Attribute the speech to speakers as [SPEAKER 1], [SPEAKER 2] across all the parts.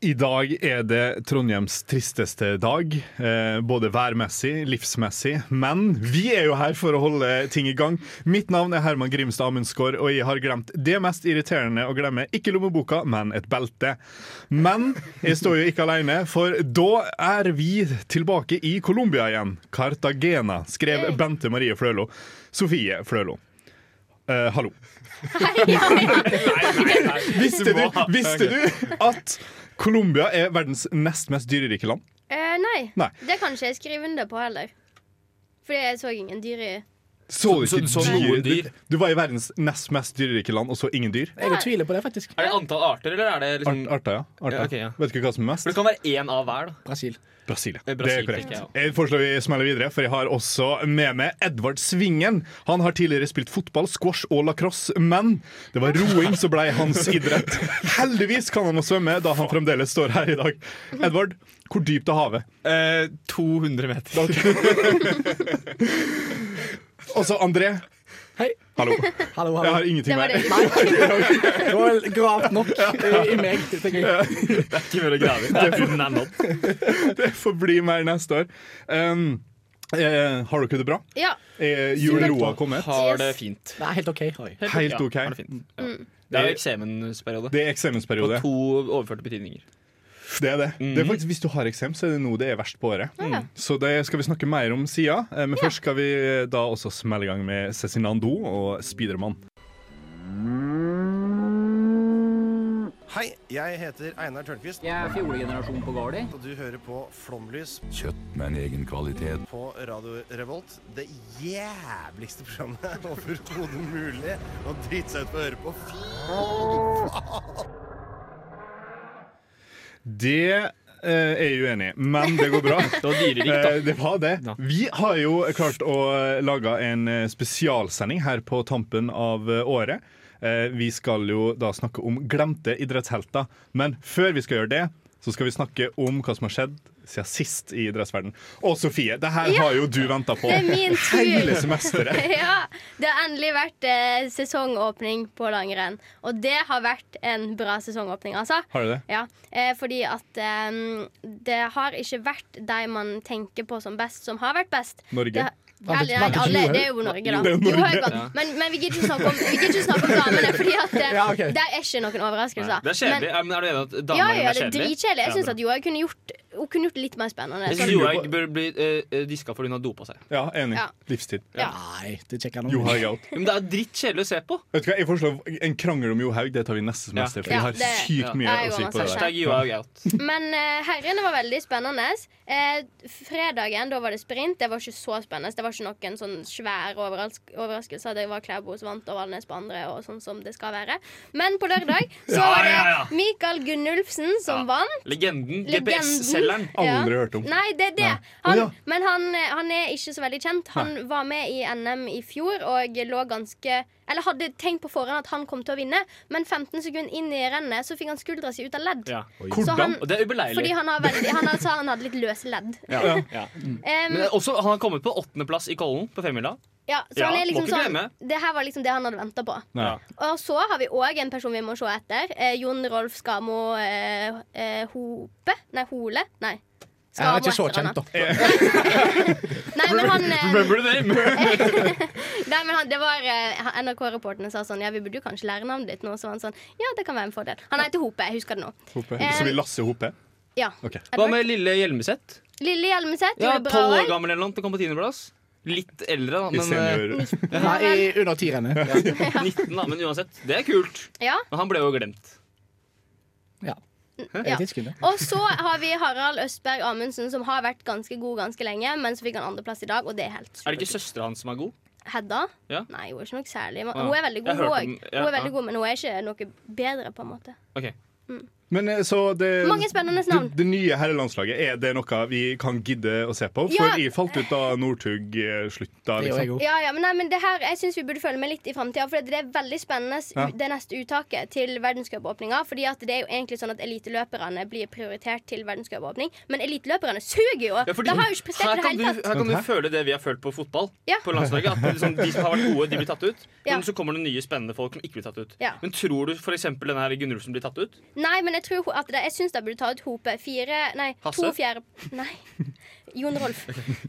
[SPEAKER 1] I dag er det Trondheims tristeste dag, eh, både værmessig, livsmessig. Men vi er jo her for å holde ting i gang. Mitt navn er Herman Grimstad Amundsgaard, og jeg har glemt det mest irriterende å glemme. Ikke lommeboka, men et belte. Men jeg står jo ikke alene, for da er vi tilbake i Colombia igjen. Cartagena, skrev Bente Marie Flølo. Sofie Flølo. Eh, hallo. Visste du, visste du at Colombia er verdens nest mest dyrerike land?
[SPEAKER 2] Eh, nei.
[SPEAKER 1] Nei.
[SPEAKER 2] det kan ikke jeg skrive under på heller. Fordi jeg så ingen dyr i
[SPEAKER 1] Så du
[SPEAKER 3] Så-
[SPEAKER 1] ikke
[SPEAKER 3] så- så
[SPEAKER 1] dyr?
[SPEAKER 3] noen dyr?
[SPEAKER 1] Du, du var i verdens nest mest dyrerike land, og så ingen dyr?
[SPEAKER 3] Jeg tviler på det, faktisk.
[SPEAKER 4] Er det antall arter, eller er det liksom
[SPEAKER 1] Art, arta, ja. Arta.
[SPEAKER 4] Ja, ok, ja.
[SPEAKER 1] Vet ikke hva som er mest?
[SPEAKER 4] For det kan være én av hver, da.
[SPEAKER 3] Brasil.
[SPEAKER 1] Brasilia.
[SPEAKER 4] Eh,
[SPEAKER 1] Det er
[SPEAKER 4] Brasil,
[SPEAKER 1] korrekt.
[SPEAKER 4] tenker jeg,
[SPEAKER 1] Jeg foreslår vi smeller videre, for jeg har også med meg Edvard Svingen. Han har tidligere spilt fotball, squash og lacrosse, men det var roing som ble hans idrett. Heldigvis kan han å svømme, da han fremdeles står her i dag. Edvard, hvor dypt er havet?
[SPEAKER 4] 200 Eh, meter.
[SPEAKER 1] Også André.
[SPEAKER 3] Hei.
[SPEAKER 1] Hallo.
[SPEAKER 3] Hallo,
[SPEAKER 1] Jeg
[SPEAKER 3] hallo.
[SPEAKER 1] har ingenting
[SPEAKER 2] Det var
[SPEAKER 1] mer.
[SPEAKER 2] det.
[SPEAKER 3] Det var gravt nok eh, i meg. tenker jeg.
[SPEAKER 4] Ikke mer å grave i. Det er uten enden.
[SPEAKER 1] Det får bli mer neste år. Um, eh, har dere det bra?
[SPEAKER 2] Ja.
[SPEAKER 1] Er jul og ro har kommet?
[SPEAKER 4] Har det fint.
[SPEAKER 3] Det er helt OK.
[SPEAKER 4] Helt,
[SPEAKER 1] Helt
[SPEAKER 4] ja,
[SPEAKER 1] ok.
[SPEAKER 4] har det, fint. Ja.
[SPEAKER 2] Mm.
[SPEAKER 4] det er jo eksamensperiode.
[SPEAKER 1] Det er
[SPEAKER 4] På
[SPEAKER 1] eksamensperiode.
[SPEAKER 4] to overførte betydninger.
[SPEAKER 1] Det er det. det
[SPEAKER 4] Mhm.
[SPEAKER 1] er faktisk, hvis du har eksem, så er det nå det er verst på året.
[SPEAKER 2] Ja.
[SPEAKER 1] Så det skal vi snakke mer om sida. Eh, Men først skal vi eh, da også smelle i gang med Cezinando og Spiderman.
[SPEAKER 5] Hei, jeg heter Einar Tørnquist,
[SPEAKER 6] Jeg er fjolegenerasjon på Gardi.
[SPEAKER 5] og du hører på Flomlys
[SPEAKER 7] Kjøtt med en egen kvalitet.
[SPEAKER 5] på Radio Revolt. Det jævligste programmet overhodet mulig å drite seg ut på å høre på.
[SPEAKER 1] Det eh, er jeg uenig i, men det går bra.
[SPEAKER 4] Det var dyrerikt, da.
[SPEAKER 1] Eh, Det var det.
[SPEAKER 4] Ja.
[SPEAKER 1] Vi har jo klart å eh, lage en eh, spesialsending her på tampen av eh, året. Eh, Vi skal jo da snakke om glemte idrettshelter. Men før vi skal gjøre det, så skal vi snakke om hva som har skjedd siden sist i idrettsverden. Og Sofie, det her
[SPEAKER 2] Ja.
[SPEAKER 1] har jo du venta på
[SPEAKER 2] Det er min tur.
[SPEAKER 1] hele semesteret.
[SPEAKER 2] ja. Det har endelig vært eh, sesongåpning på langrenn. Og det har vært en bra sesongåpning, altså.
[SPEAKER 1] Har du det?
[SPEAKER 2] Ja, eh, fordi at eh, det har ikke vært de man tenker på som best, som har vært best.
[SPEAKER 1] Norge.
[SPEAKER 2] Det,
[SPEAKER 3] Var det-
[SPEAKER 2] Eller, nei,
[SPEAKER 3] var det ikke
[SPEAKER 2] alle,
[SPEAKER 3] Johaug?
[SPEAKER 2] det er jo Norge, da.
[SPEAKER 1] Jo, det er jo Norge.
[SPEAKER 2] Johaug vant. Men, men vi gidder ikke snakke om, vi gidder ikke snakke om damene, Fordi at eh,
[SPEAKER 3] Ja, ok.
[SPEAKER 2] det er ikke noen overraskelser.
[SPEAKER 4] Det er
[SPEAKER 2] Men-
[SPEAKER 4] kjedelig. Ja, Men er du enig i at damer
[SPEAKER 2] Ja, ja,
[SPEAKER 4] er
[SPEAKER 2] det er
[SPEAKER 4] kjedelig?
[SPEAKER 2] dritkjedelig. Jeg syns
[SPEAKER 4] bra.
[SPEAKER 2] at Johaug kunne gjort Hun kunne gjort det litt mer spennende.
[SPEAKER 4] Jeg
[SPEAKER 2] Sånn,
[SPEAKER 4] synes Johaug bør bli uh, diska fordi hun har dopa seg.
[SPEAKER 1] Ja, enig.
[SPEAKER 2] Ja.
[SPEAKER 1] Livstid.
[SPEAKER 2] ja.
[SPEAKER 3] Nei, det sjekker jeg nå.
[SPEAKER 1] Johaug out.
[SPEAKER 4] Men det er drittkjedelig å se på.
[SPEAKER 1] Vet du hva, Jeg foreslår en krangel om Johaug. Det tar vi neste semester. For
[SPEAKER 2] Ja,
[SPEAKER 1] vi har
[SPEAKER 2] det-
[SPEAKER 1] sykt
[SPEAKER 4] ja.
[SPEAKER 1] mye å
[SPEAKER 2] Jeg går
[SPEAKER 1] si på det
[SPEAKER 2] masse
[SPEAKER 1] der.
[SPEAKER 4] Hashtag Johaug out.
[SPEAKER 2] Men eh, herrene var veldig spennende. Eh, fredagen, da var det sprint. Det var ikke så spennende. Det var ikke noen sånn svære overras overraskelser. Det var Klæbo som vant og Valnes på andre, og sånn som det skal være. Men på lørdag så
[SPEAKER 4] Ja,
[SPEAKER 2] var det
[SPEAKER 4] ja, ja.
[SPEAKER 2] Mikael Gunnulfsen som vant.
[SPEAKER 4] Legenden.
[SPEAKER 2] Legenden.
[SPEAKER 4] GPS-selgeren.
[SPEAKER 1] Aldri hørt om.
[SPEAKER 2] Nei, det er det.
[SPEAKER 1] Nei.
[SPEAKER 2] Han,
[SPEAKER 1] Å, ja.
[SPEAKER 2] Men han, han er ikke så veldig kjent. Han var med i NM i fjor og lå ganske Eller hadde tenkt på forhånd at han kom til å vinne, men 15 sekunder inn i rennet så fikk han skuldra si ut av ledd.
[SPEAKER 4] Ja.
[SPEAKER 2] Så han,
[SPEAKER 1] Hvordan?
[SPEAKER 4] Og det er ubeleilig.
[SPEAKER 2] fordi han, har veldig, han, har, sa han hadde litt løse ledd.
[SPEAKER 4] Ja. Ja.
[SPEAKER 2] Em,
[SPEAKER 4] Men også, han har kommet på åttendeplass i Kollen på femmila.
[SPEAKER 2] ja, så
[SPEAKER 4] Ja,
[SPEAKER 2] han er
[SPEAKER 4] må
[SPEAKER 2] liksom
[SPEAKER 4] ikke
[SPEAKER 2] sånn
[SPEAKER 4] glemme.
[SPEAKER 2] Det her var liksom det han hadde venta på.
[SPEAKER 1] Nei.
[SPEAKER 2] Og så har vi òg en person vi må se etter. Eh, Jon Rolf Skamo eh, eh, Hope? Nei, Hole? Nei.
[SPEAKER 3] Jeg er ikke så
[SPEAKER 2] Skamo heter han,
[SPEAKER 3] kjent,
[SPEAKER 2] da.
[SPEAKER 3] da.
[SPEAKER 2] Nei, men han eh,
[SPEAKER 4] Remember the name?
[SPEAKER 2] Nei, men han, det var eh, NRK-reporterne sa sånn Ja, vi burde jo kanskje lære navnet ditt nå. Så var han sånn Ja, det kan være en fordel. Han heter Hope. Jeg husker det nå.
[SPEAKER 1] Hoppe.
[SPEAKER 2] Eh,
[SPEAKER 1] Så vi Lasse Hoppe?
[SPEAKER 2] Ja.
[SPEAKER 1] Ok.
[SPEAKER 2] Edvard.
[SPEAKER 4] Hva med lille Hjelmeset?
[SPEAKER 2] Lille Hjelmeset
[SPEAKER 4] Ja,
[SPEAKER 2] gjorde det bra
[SPEAKER 4] Tolv år
[SPEAKER 2] òg.
[SPEAKER 4] gammel eller noe, kom på tiendeplass. Litt eldre, da.
[SPEAKER 1] I
[SPEAKER 4] Men,
[SPEAKER 1] senior...
[SPEAKER 2] eh,
[SPEAKER 3] Nei, i- under tierne. Ja.
[SPEAKER 4] eh, 19, da, men uansett. Det er kult.
[SPEAKER 2] Ja,
[SPEAKER 4] Men han ble jo glemt.
[SPEAKER 3] Ja.
[SPEAKER 2] ja.
[SPEAKER 3] Jeg tilskuer det.
[SPEAKER 2] Og så har vi Harald Østberg Amundsen, som har vært ganske god ganske lenge, men så fikk han andreplass i dag, og det er helt
[SPEAKER 4] Er det ikke
[SPEAKER 2] supert.
[SPEAKER 4] søstera hans som er god?
[SPEAKER 2] Hedda?
[SPEAKER 4] Ja.
[SPEAKER 2] Nei, hun er ikke noe særlig. Men
[SPEAKER 4] Å, ja.
[SPEAKER 2] Hun er
[SPEAKER 4] Jeg
[SPEAKER 2] veldig god,
[SPEAKER 4] hørte
[SPEAKER 2] hun
[SPEAKER 4] den.
[SPEAKER 2] også.
[SPEAKER 4] Ja,
[SPEAKER 2] Hun er
[SPEAKER 4] ja.
[SPEAKER 2] veldig god, men hun er ikke noe bedre, på en måte.
[SPEAKER 4] Ok.
[SPEAKER 1] Men eh, så det
[SPEAKER 2] Mange spennende
[SPEAKER 1] det,
[SPEAKER 2] navn.
[SPEAKER 1] det nye herrelandslaget, er det noe vi kan gidde å se på?
[SPEAKER 2] Ja.
[SPEAKER 1] For jeg falt ut av Northug eh, slutt da,
[SPEAKER 3] Det gjør jeg
[SPEAKER 1] liksom.
[SPEAKER 3] òg.
[SPEAKER 2] Ja, ja, men, nei, men det her, Jeg syns vi burde følge med litt i framtida. For det er veldig spennende s-
[SPEAKER 1] Ja.
[SPEAKER 2] det neste uttaket til verdenscupåpninga. Fordi at det er jo egentlig sånn at eliteløperne blir prioritert til verdenscupåpning. Men eliteløperne suger jo!
[SPEAKER 4] Ja, fordi
[SPEAKER 2] de har jo ikke prestert
[SPEAKER 4] her
[SPEAKER 2] i det
[SPEAKER 4] kan du,
[SPEAKER 2] hele tatt.
[SPEAKER 4] her kan du føle det vi har følt på fotball.
[SPEAKER 2] Ja.
[SPEAKER 4] På landslaget At liksom, De som har vært gode, de blir tatt ut.
[SPEAKER 2] Ja.
[SPEAKER 4] Men så kommer det nye spennende folk som ikke blir tatt ut.
[SPEAKER 2] Ja.
[SPEAKER 4] Men tror du f.eks. denne her Gunnulfsen blir tatt ut?
[SPEAKER 2] Nei, men jeg tror ho- at det, jeg syns de burde ta ut Hope. Fire Nei,
[SPEAKER 4] Hasse?
[SPEAKER 2] to fjerde... Nei. Jon Rolf.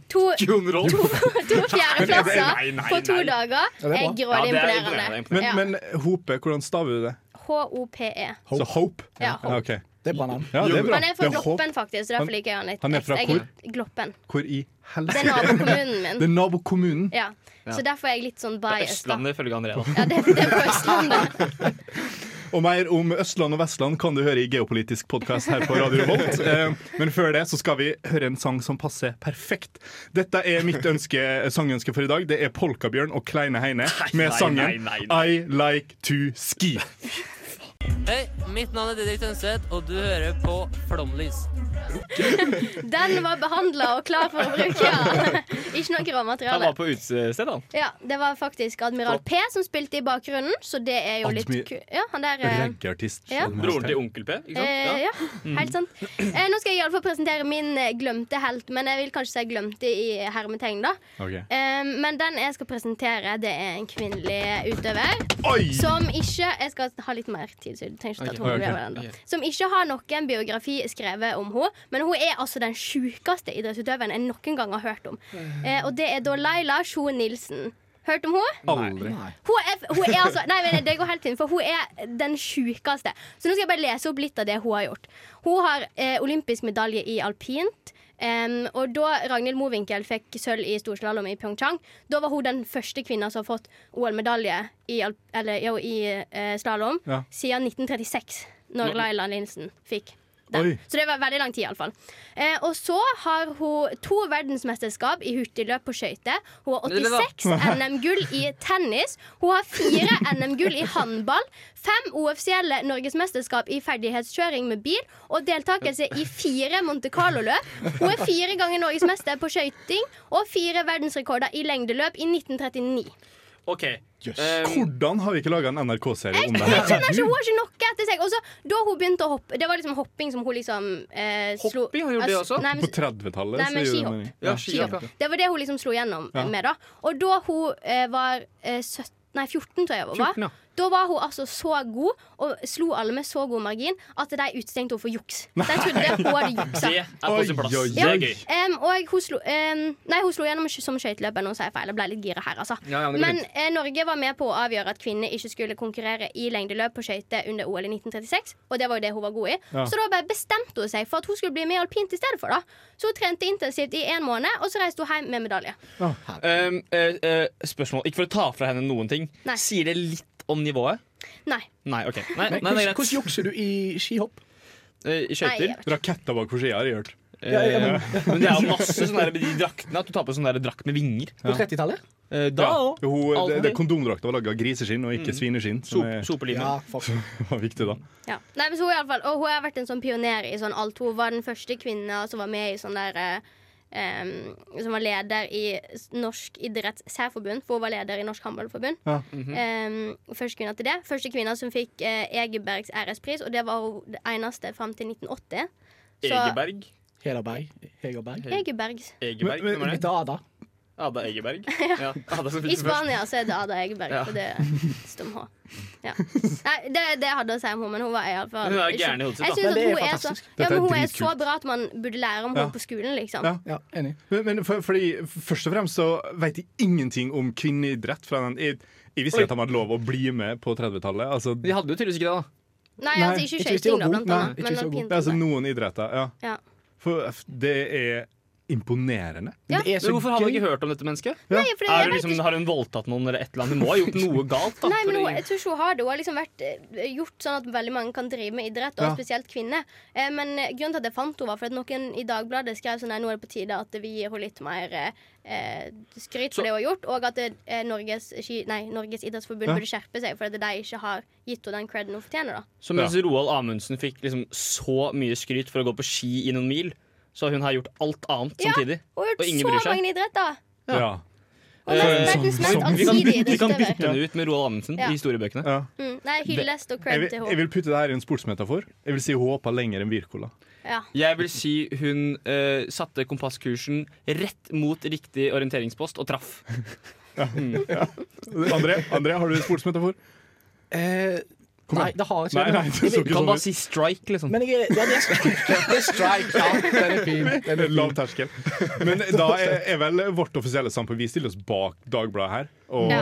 [SPEAKER 2] To, to
[SPEAKER 4] Jon Rolf? Nei, nei,
[SPEAKER 2] fjerdeplasser
[SPEAKER 4] nei,
[SPEAKER 2] på to
[SPEAKER 4] nei.
[SPEAKER 2] dager
[SPEAKER 3] er bra.
[SPEAKER 2] er
[SPEAKER 4] Ja,
[SPEAKER 2] grådig
[SPEAKER 4] det er imponerende.
[SPEAKER 2] imponerende.
[SPEAKER 1] Men,
[SPEAKER 2] Ja.
[SPEAKER 1] men Hope, hvordan staver du det?
[SPEAKER 2] H-O-P-E.
[SPEAKER 1] Så Hope?
[SPEAKER 2] Ja, Hope.
[SPEAKER 1] ok.
[SPEAKER 3] Det er banan.
[SPEAKER 1] ja det er bra.
[SPEAKER 2] E. Han er fra
[SPEAKER 1] Det er Hope.
[SPEAKER 2] Gloppen, faktisk. så
[SPEAKER 1] Han-
[SPEAKER 2] Derfor liker jeg han litt.
[SPEAKER 1] han er fra
[SPEAKER 2] ekstra. Jeg Gloppen.
[SPEAKER 1] Hvor i
[SPEAKER 2] Det
[SPEAKER 1] helsike
[SPEAKER 2] er nabokommunen min.
[SPEAKER 1] Det er nabokommunen.
[SPEAKER 2] Ja. Så derfor er jeg litt sånn biased. da.
[SPEAKER 4] Østlandet, ifølge André. da.
[SPEAKER 2] Ja, det, det er på Østlandet.
[SPEAKER 1] Og mer om Østland og Vestland kan du høre i Geopolitisk podkast her på Radio Volt. Eh, Men før det så skal vi høre en sang som passer perfekt. Dette er mitt ønske, eh, sangønske for i dag. Det er Polkabjørn og Kleine Heine med
[SPEAKER 4] nei,
[SPEAKER 1] sangen
[SPEAKER 4] nei, nei, nei.
[SPEAKER 1] I Like To Ski.
[SPEAKER 6] Hei, mitt navn er Didrik Tønseth, og du hører på Flomlys.
[SPEAKER 2] Den var behandla og klar for å bruke, ja. Ikke noe
[SPEAKER 4] Han
[SPEAKER 2] råmateriale.
[SPEAKER 4] var på utested, han.
[SPEAKER 2] Ja, det var faktisk Admiral P som spilte i bakgrunnen, så det er jo litt
[SPEAKER 1] Admi-
[SPEAKER 2] ku... Ja, han der eh,
[SPEAKER 1] Reggaeartist.
[SPEAKER 2] Ja.
[SPEAKER 4] Broren til Onkel P. Ikke sant?
[SPEAKER 2] Eh, ja, helt sant. Eh, nå skal jeg iallfall presentere min eh, glemte helt, men jeg vil kanskje si glemte i hermetegn, da.
[SPEAKER 1] Ok.
[SPEAKER 2] Eh, men den jeg skal presentere, det er en kvinnelig utøver.
[SPEAKER 1] Oi!
[SPEAKER 2] Som ikke Jeg skal ha litt mer tid, så du trenger ikke ta to
[SPEAKER 1] Ok.
[SPEAKER 2] minutter over den. da. Som ikke har noen biografi skrevet om henne, men hun er altså den sjukeste idrettsutøveren jeg noen gang har hørt om. Eh, og det er da Laila Sjo Nilsen. Hørt om henne?
[SPEAKER 1] Aldri.
[SPEAKER 4] Eh,
[SPEAKER 2] Hun er, hun er altså, nei, men det går helt fint, for hun er den sjukeste. Så nå skal jeg bare lese opp litt av det hun har gjort. Hun har eh, olympisk medalje i alpint. em, og da Ragnhild Mowinckel fikk sølv i storslalåm i Pyeongchang, da var hun den første kvinna som har fått OL-medalje i, alp- eller, jo, i eh, slalåm
[SPEAKER 1] Ja.
[SPEAKER 2] siden 1936, når Laila Linsen fikk
[SPEAKER 1] Oi.
[SPEAKER 2] den. Så det var veldig lang tid, iallfall. Eh, og så har hun to verdensmesterskap i hurtigløp på skøyter. Hun har
[SPEAKER 4] Det var-
[SPEAKER 2] 86 NM-gull i tennis. Hun har fire NM-gull i handball. Fem uoffisielle norgesmesterskap i ferdighetskjøring med bil. Og deltakelse i fire Monte Carlo-løp. Hun er fire ganger norgesmester på skøyting og fire verdensrekorder i lengdeløp i 1939.
[SPEAKER 4] Ok.
[SPEAKER 3] Jøss.
[SPEAKER 4] Um,
[SPEAKER 1] Hvordan har vi ikke laga en NRK-serie om det her?
[SPEAKER 2] Skjønner ikke, Hun har ikke noe etter seg. Og så, da hun begynte å hoppe Det var liksom hopping som hun liksom eh, slo
[SPEAKER 4] Hopping? Har hun gjort det
[SPEAKER 2] Altså,
[SPEAKER 4] også?
[SPEAKER 2] Nei, men-
[SPEAKER 1] På 30-tallet
[SPEAKER 2] Nei,
[SPEAKER 1] så
[SPEAKER 2] men
[SPEAKER 1] gjorde
[SPEAKER 2] skihopp.
[SPEAKER 1] man-
[SPEAKER 4] ja,
[SPEAKER 2] skihopp.
[SPEAKER 4] skihopp, ja.
[SPEAKER 2] Det var det hun liksom slo gjennom
[SPEAKER 1] Ja.
[SPEAKER 2] med. da Og da hun eh, var eh, 17, nei, 14, tror jeg hun var,
[SPEAKER 4] 14, ja.
[SPEAKER 2] da var hun altså så god og slo alle med så god margin at de utestengte henne for juks. De trodde hun hadde juksa.
[SPEAKER 4] Det er på sin plass.
[SPEAKER 1] Oi, oi, oi.
[SPEAKER 4] Det er gøy.
[SPEAKER 2] Em, og hun slo, em, nei, hun slo gjennom sk- som skøyteløper. Nå sa jeg feil. Jeg ble litt gira her, altså.
[SPEAKER 4] Ja, ja, men det går
[SPEAKER 2] men eh, Norge var med på å avgjøre at kvinner ikke skulle konkurrere i lengdeløp på skøyter under OL i 1936, og det var jo det hun var god i.
[SPEAKER 1] Ja.
[SPEAKER 2] Så da bare bestemte hun seg for at hun skulle bli med i alpint i stedet for. da Så hun trente intensivt i en måned, og så reiste hun hjem med medalje.
[SPEAKER 4] Um, eh, eh, spørsmål. Ikke for å ta fra henne noen ting.
[SPEAKER 2] Nei.
[SPEAKER 4] Sier det litt om nivået?
[SPEAKER 2] Nei.
[SPEAKER 4] Nei, ok. Nei, nei,
[SPEAKER 3] Hvordan
[SPEAKER 4] det er
[SPEAKER 3] hvordan
[SPEAKER 4] greit.
[SPEAKER 3] jukser du i skihopp?
[SPEAKER 4] Eh, I
[SPEAKER 2] Nei, jeg
[SPEAKER 4] skøyter.
[SPEAKER 2] vet ikke.
[SPEAKER 1] Raketter bak for skia har jeg hørt.
[SPEAKER 4] Eh, men det er jo masse sånne der, med de draktene. At du tar på sånn der drakt med vinger.
[SPEAKER 3] På 30-tallet?
[SPEAKER 4] Eh, da Mm.
[SPEAKER 1] Ja.
[SPEAKER 4] òg.
[SPEAKER 1] Hun, det,
[SPEAKER 4] Aldri.
[SPEAKER 1] det Kondomdrakta var laga av griseskinn og ikke svineskinn, som er,
[SPEAKER 4] Sopelimen.
[SPEAKER 3] Ja, fuck.
[SPEAKER 1] var viktig da.
[SPEAKER 2] Ja. Nei, men så hun, i alle fall, og hun har vært en sånn pioner i sånn alt. Hun var den første kvinna som var med i sånn der eh, em, Som var leder i s- Norsk idrettssærforbund, for hun var leder i Norsk Håndballforbund.
[SPEAKER 1] Ja.
[SPEAKER 2] Em, første kvinna til det. Første kvinna som fikk eh, Egebergs ærespris, og det var hun det eneste fram til 1980. Så
[SPEAKER 4] Egeberg.
[SPEAKER 3] Hederberg. Hegerberg.
[SPEAKER 2] Egebergs.
[SPEAKER 4] Egeberg.
[SPEAKER 1] Men-
[SPEAKER 4] Hvem er det?
[SPEAKER 3] Etter Ada.
[SPEAKER 4] Ada Egeberg. Ja. Ada som
[SPEAKER 2] I
[SPEAKER 4] spilte først.
[SPEAKER 2] Spania så er det Ada Egeberg,
[SPEAKER 4] Ja.
[SPEAKER 2] for det står med H. Ja. Nei, det, det hadde jeg å si om henne, men hun var iallfall
[SPEAKER 4] Hun er gæren i hodet sitt,
[SPEAKER 2] Jeg
[SPEAKER 4] da.
[SPEAKER 2] synes at hun er, så,
[SPEAKER 3] Men det er fantastisk.
[SPEAKER 2] ja,
[SPEAKER 1] Dette er
[SPEAKER 2] men hun er
[SPEAKER 1] dritkult.
[SPEAKER 2] så bra at man burde lære om henne
[SPEAKER 1] Ja.
[SPEAKER 2] på skolen, liksom.
[SPEAKER 1] Ja.
[SPEAKER 3] Ja, enig.
[SPEAKER 1] Men, men for, fordi Først og fremst så vet jeg ingenting om kvinneidrett. Fra den. Jeg, jeg
[SPEAKER 4] Oi.
[SPEAKER 1] visste ikke at de hadde lov å bli med på 30-tallet. Altså,
[SPEAKER 4] De hadde jo tydeligvis ikke det, da.
[SPEAKER 2] Nei,
[SPEAKER 1] Nei,
[SPEAKER 2] altså ikke
[SPEAKER 3] ikke hvis de
[SPEAKER 2] skøyting,
[SPEAKER 3] var
[SPEAKER 2] da,
[SPEAKER 3] gode.
[SPEAKER 1] altså
[SPEAKER 2] blant
[SPEAKER 3] Nei,
[SPEAKER 2] annet.
[SPEAKER 3] ikke
[SPEAKER 2] Men
[SPEAKER 3] hvis de var
[SPEAKER 2] alpint.
[SPEAKER 1] det er altså noen idretter. Ja.
[SPEAKER 2] Ja.
[SPEAKER 1] For f- det er imponerende.
[SPEAKER 2] Ja.
[SPEAKER 1] Det er
[SPEAKER 4] Men
[SPEAKER 1] så
[SPEAKER 4] hvorfor har man
[SPEAKER 1] gøy.
[SPEAKER 4] ikke hørt om dette mennesket?
[SPEAKER 2] Nei, fordi jeg
[SPEAKER 4] Er det
[SPEAKER 2] vet
[SPEAKER 4] liksom,
[SPEAKER 2] ikke-
[SPEAKER 4] har hun voldtatt noen eller et eller annet? Hun må ha gjort noe galt. da
[SPEAKER 2] Nei, men
[SPEAKER 4] for
[SPEAKER 2] hun,
[SPEAKER 4] å-
[SPEAKER 2] jeg tror ikke hun har det. Hun har liksom vært, eh, gjort sånn at veldig mange kan drive med idrett, og
[SPEAKER 1] Ja.
[SPEAKER 2] spesielt kvinner. Eh, men eh, grunnen til at jeg fant henne, var fordi noen i Dagbladet skrev sånn at nå er det på tide at vi gir henne litt mer eh, eh, skryt
[SPEAKER 4] Så-
[SPEAKER 2] for det hun har gjort, og at eh, Norges, ski, nei, Norges idrettsforbund
[SPEAKER 1] Ja.
[SPEAKER 2] burde skjerpe seg fordi de ikke har gitt henne den creden hun fortjener. da
[SPEAKER 4] Så mens Roald Amundsen fikk liksom så mye skryt for å gå på ski i noen mil, så har hun her gjort alt annet
[SPEAKER 2] Ja,
[SPEAKER 4] samtidig.
[SPEAKER 2] Hun har gjort
[SPEAKER 4] Og ingen bryr
[SPEAKER 2] så
[SPEAKER 4] seg.
[SPEAKER 2] mange idretter!
[SPEAKER 1] Ja.
[SPEAKER 2] Hun er
[SPEAKER 4] Eh,
[SPEAKER 2] verdens
[SPEAKER 1] sånn-
[SPEAKER 2] mest
[SPEAKER 1] sånn-
[SPEAKER 4] Vi kan,
[SPEAKER 2] allsidige
[SPEAKER 4] vi kan
[SPEAKER 2] idrettsutøver.
[SPEAKER 4] bytte henne ut med Roald Amundsen
[SPEAKER 2] Ja.
[SPEAKER 4] i historiebøkene.
[SPEAKER 1] Ja.
[SPEAKER 2] Mm, nei, hyllest og
[SPEAKER 1] Jeg
[SPEAKER 2] cred
[SPEAKER 1] vil,
[SPEAKER 2] til
[SPEAKER 1] jeg
[SPEAKER 2] henne.
[SPEAKER 1] vil putte det her i en sportsmetafor. Jeg vil si hun hoppa lenger enn Wirkola.
[SPEAKER 2] Ja.
[SPEAKER 4] Jeg vil si hun eh, satte kompasskursen rett mot riktig orienteringspost og traff.
[SPEAKER 1] André, André, har du en sportsmetafor? Kom
[SPEAKER 3] nei,
[SPEAKER 1] igjen.
[SPEAKER 3] det har jeg
[SPEAKER 1] Nei,
[SPEAKER 3] ikke.
[SPEAKER 1] nei, det så
[SPEAKER 4] Du kan
[SPEAKER 1] ikke sånn
[SPEAKER 4] bare
[SPEAKER 1] ut.
[SPEAKER 4] si strike, liksom.
[SPEAKER 3] Men jeg, er- ja, det er strike. Det er strike, ja. Den er fin. Den er
[SPEAKER 1] Lav
[SPEAKER 3] fin.
[SPEAKER 1] terskel. Men da er, er vel vårt offisielle standpunkt Vi stiller oss bak Dagbladet her. Og,
[SPEAKER 2] Ja.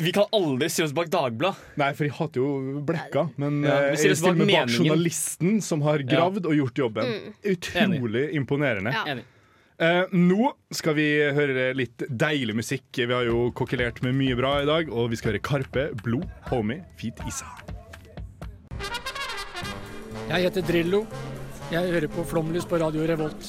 [SPEAKER 4] Vi kan aldri stille oss bak Dagbladet.
[SPEAKER 1] Nei, for de hater jo Blekka. Men
[SPEAKER 4] Ja,
[SPEAKER 1] eh,
[SPEAKER 4] vi stiller
[SPEAKER 1] jeg
[SPEAKER 4] oss
[SPEAKER 1] stiller
[SPEAKER 4] bak
[SPEAKER 1] meg bak
[SPEAKER 4] meningen.
[SPEAKER 1] journalisten som har gravd og gjort jobben. Utrolig imponerende.
[SPEAKER 2] Ja.
[SPEAKER 4] Enig.
[SPEAKER 1] Eh, nå skal vi høre litt deilig musikk. Vi har jo kokkelert med mye bra i dag, og vi skal høre Karpe, Blod, Homie, Fit Isa.
[SPEAKER 3] Jeg heter Drillo. Jeg hører på Flomlys på Radio Revolt.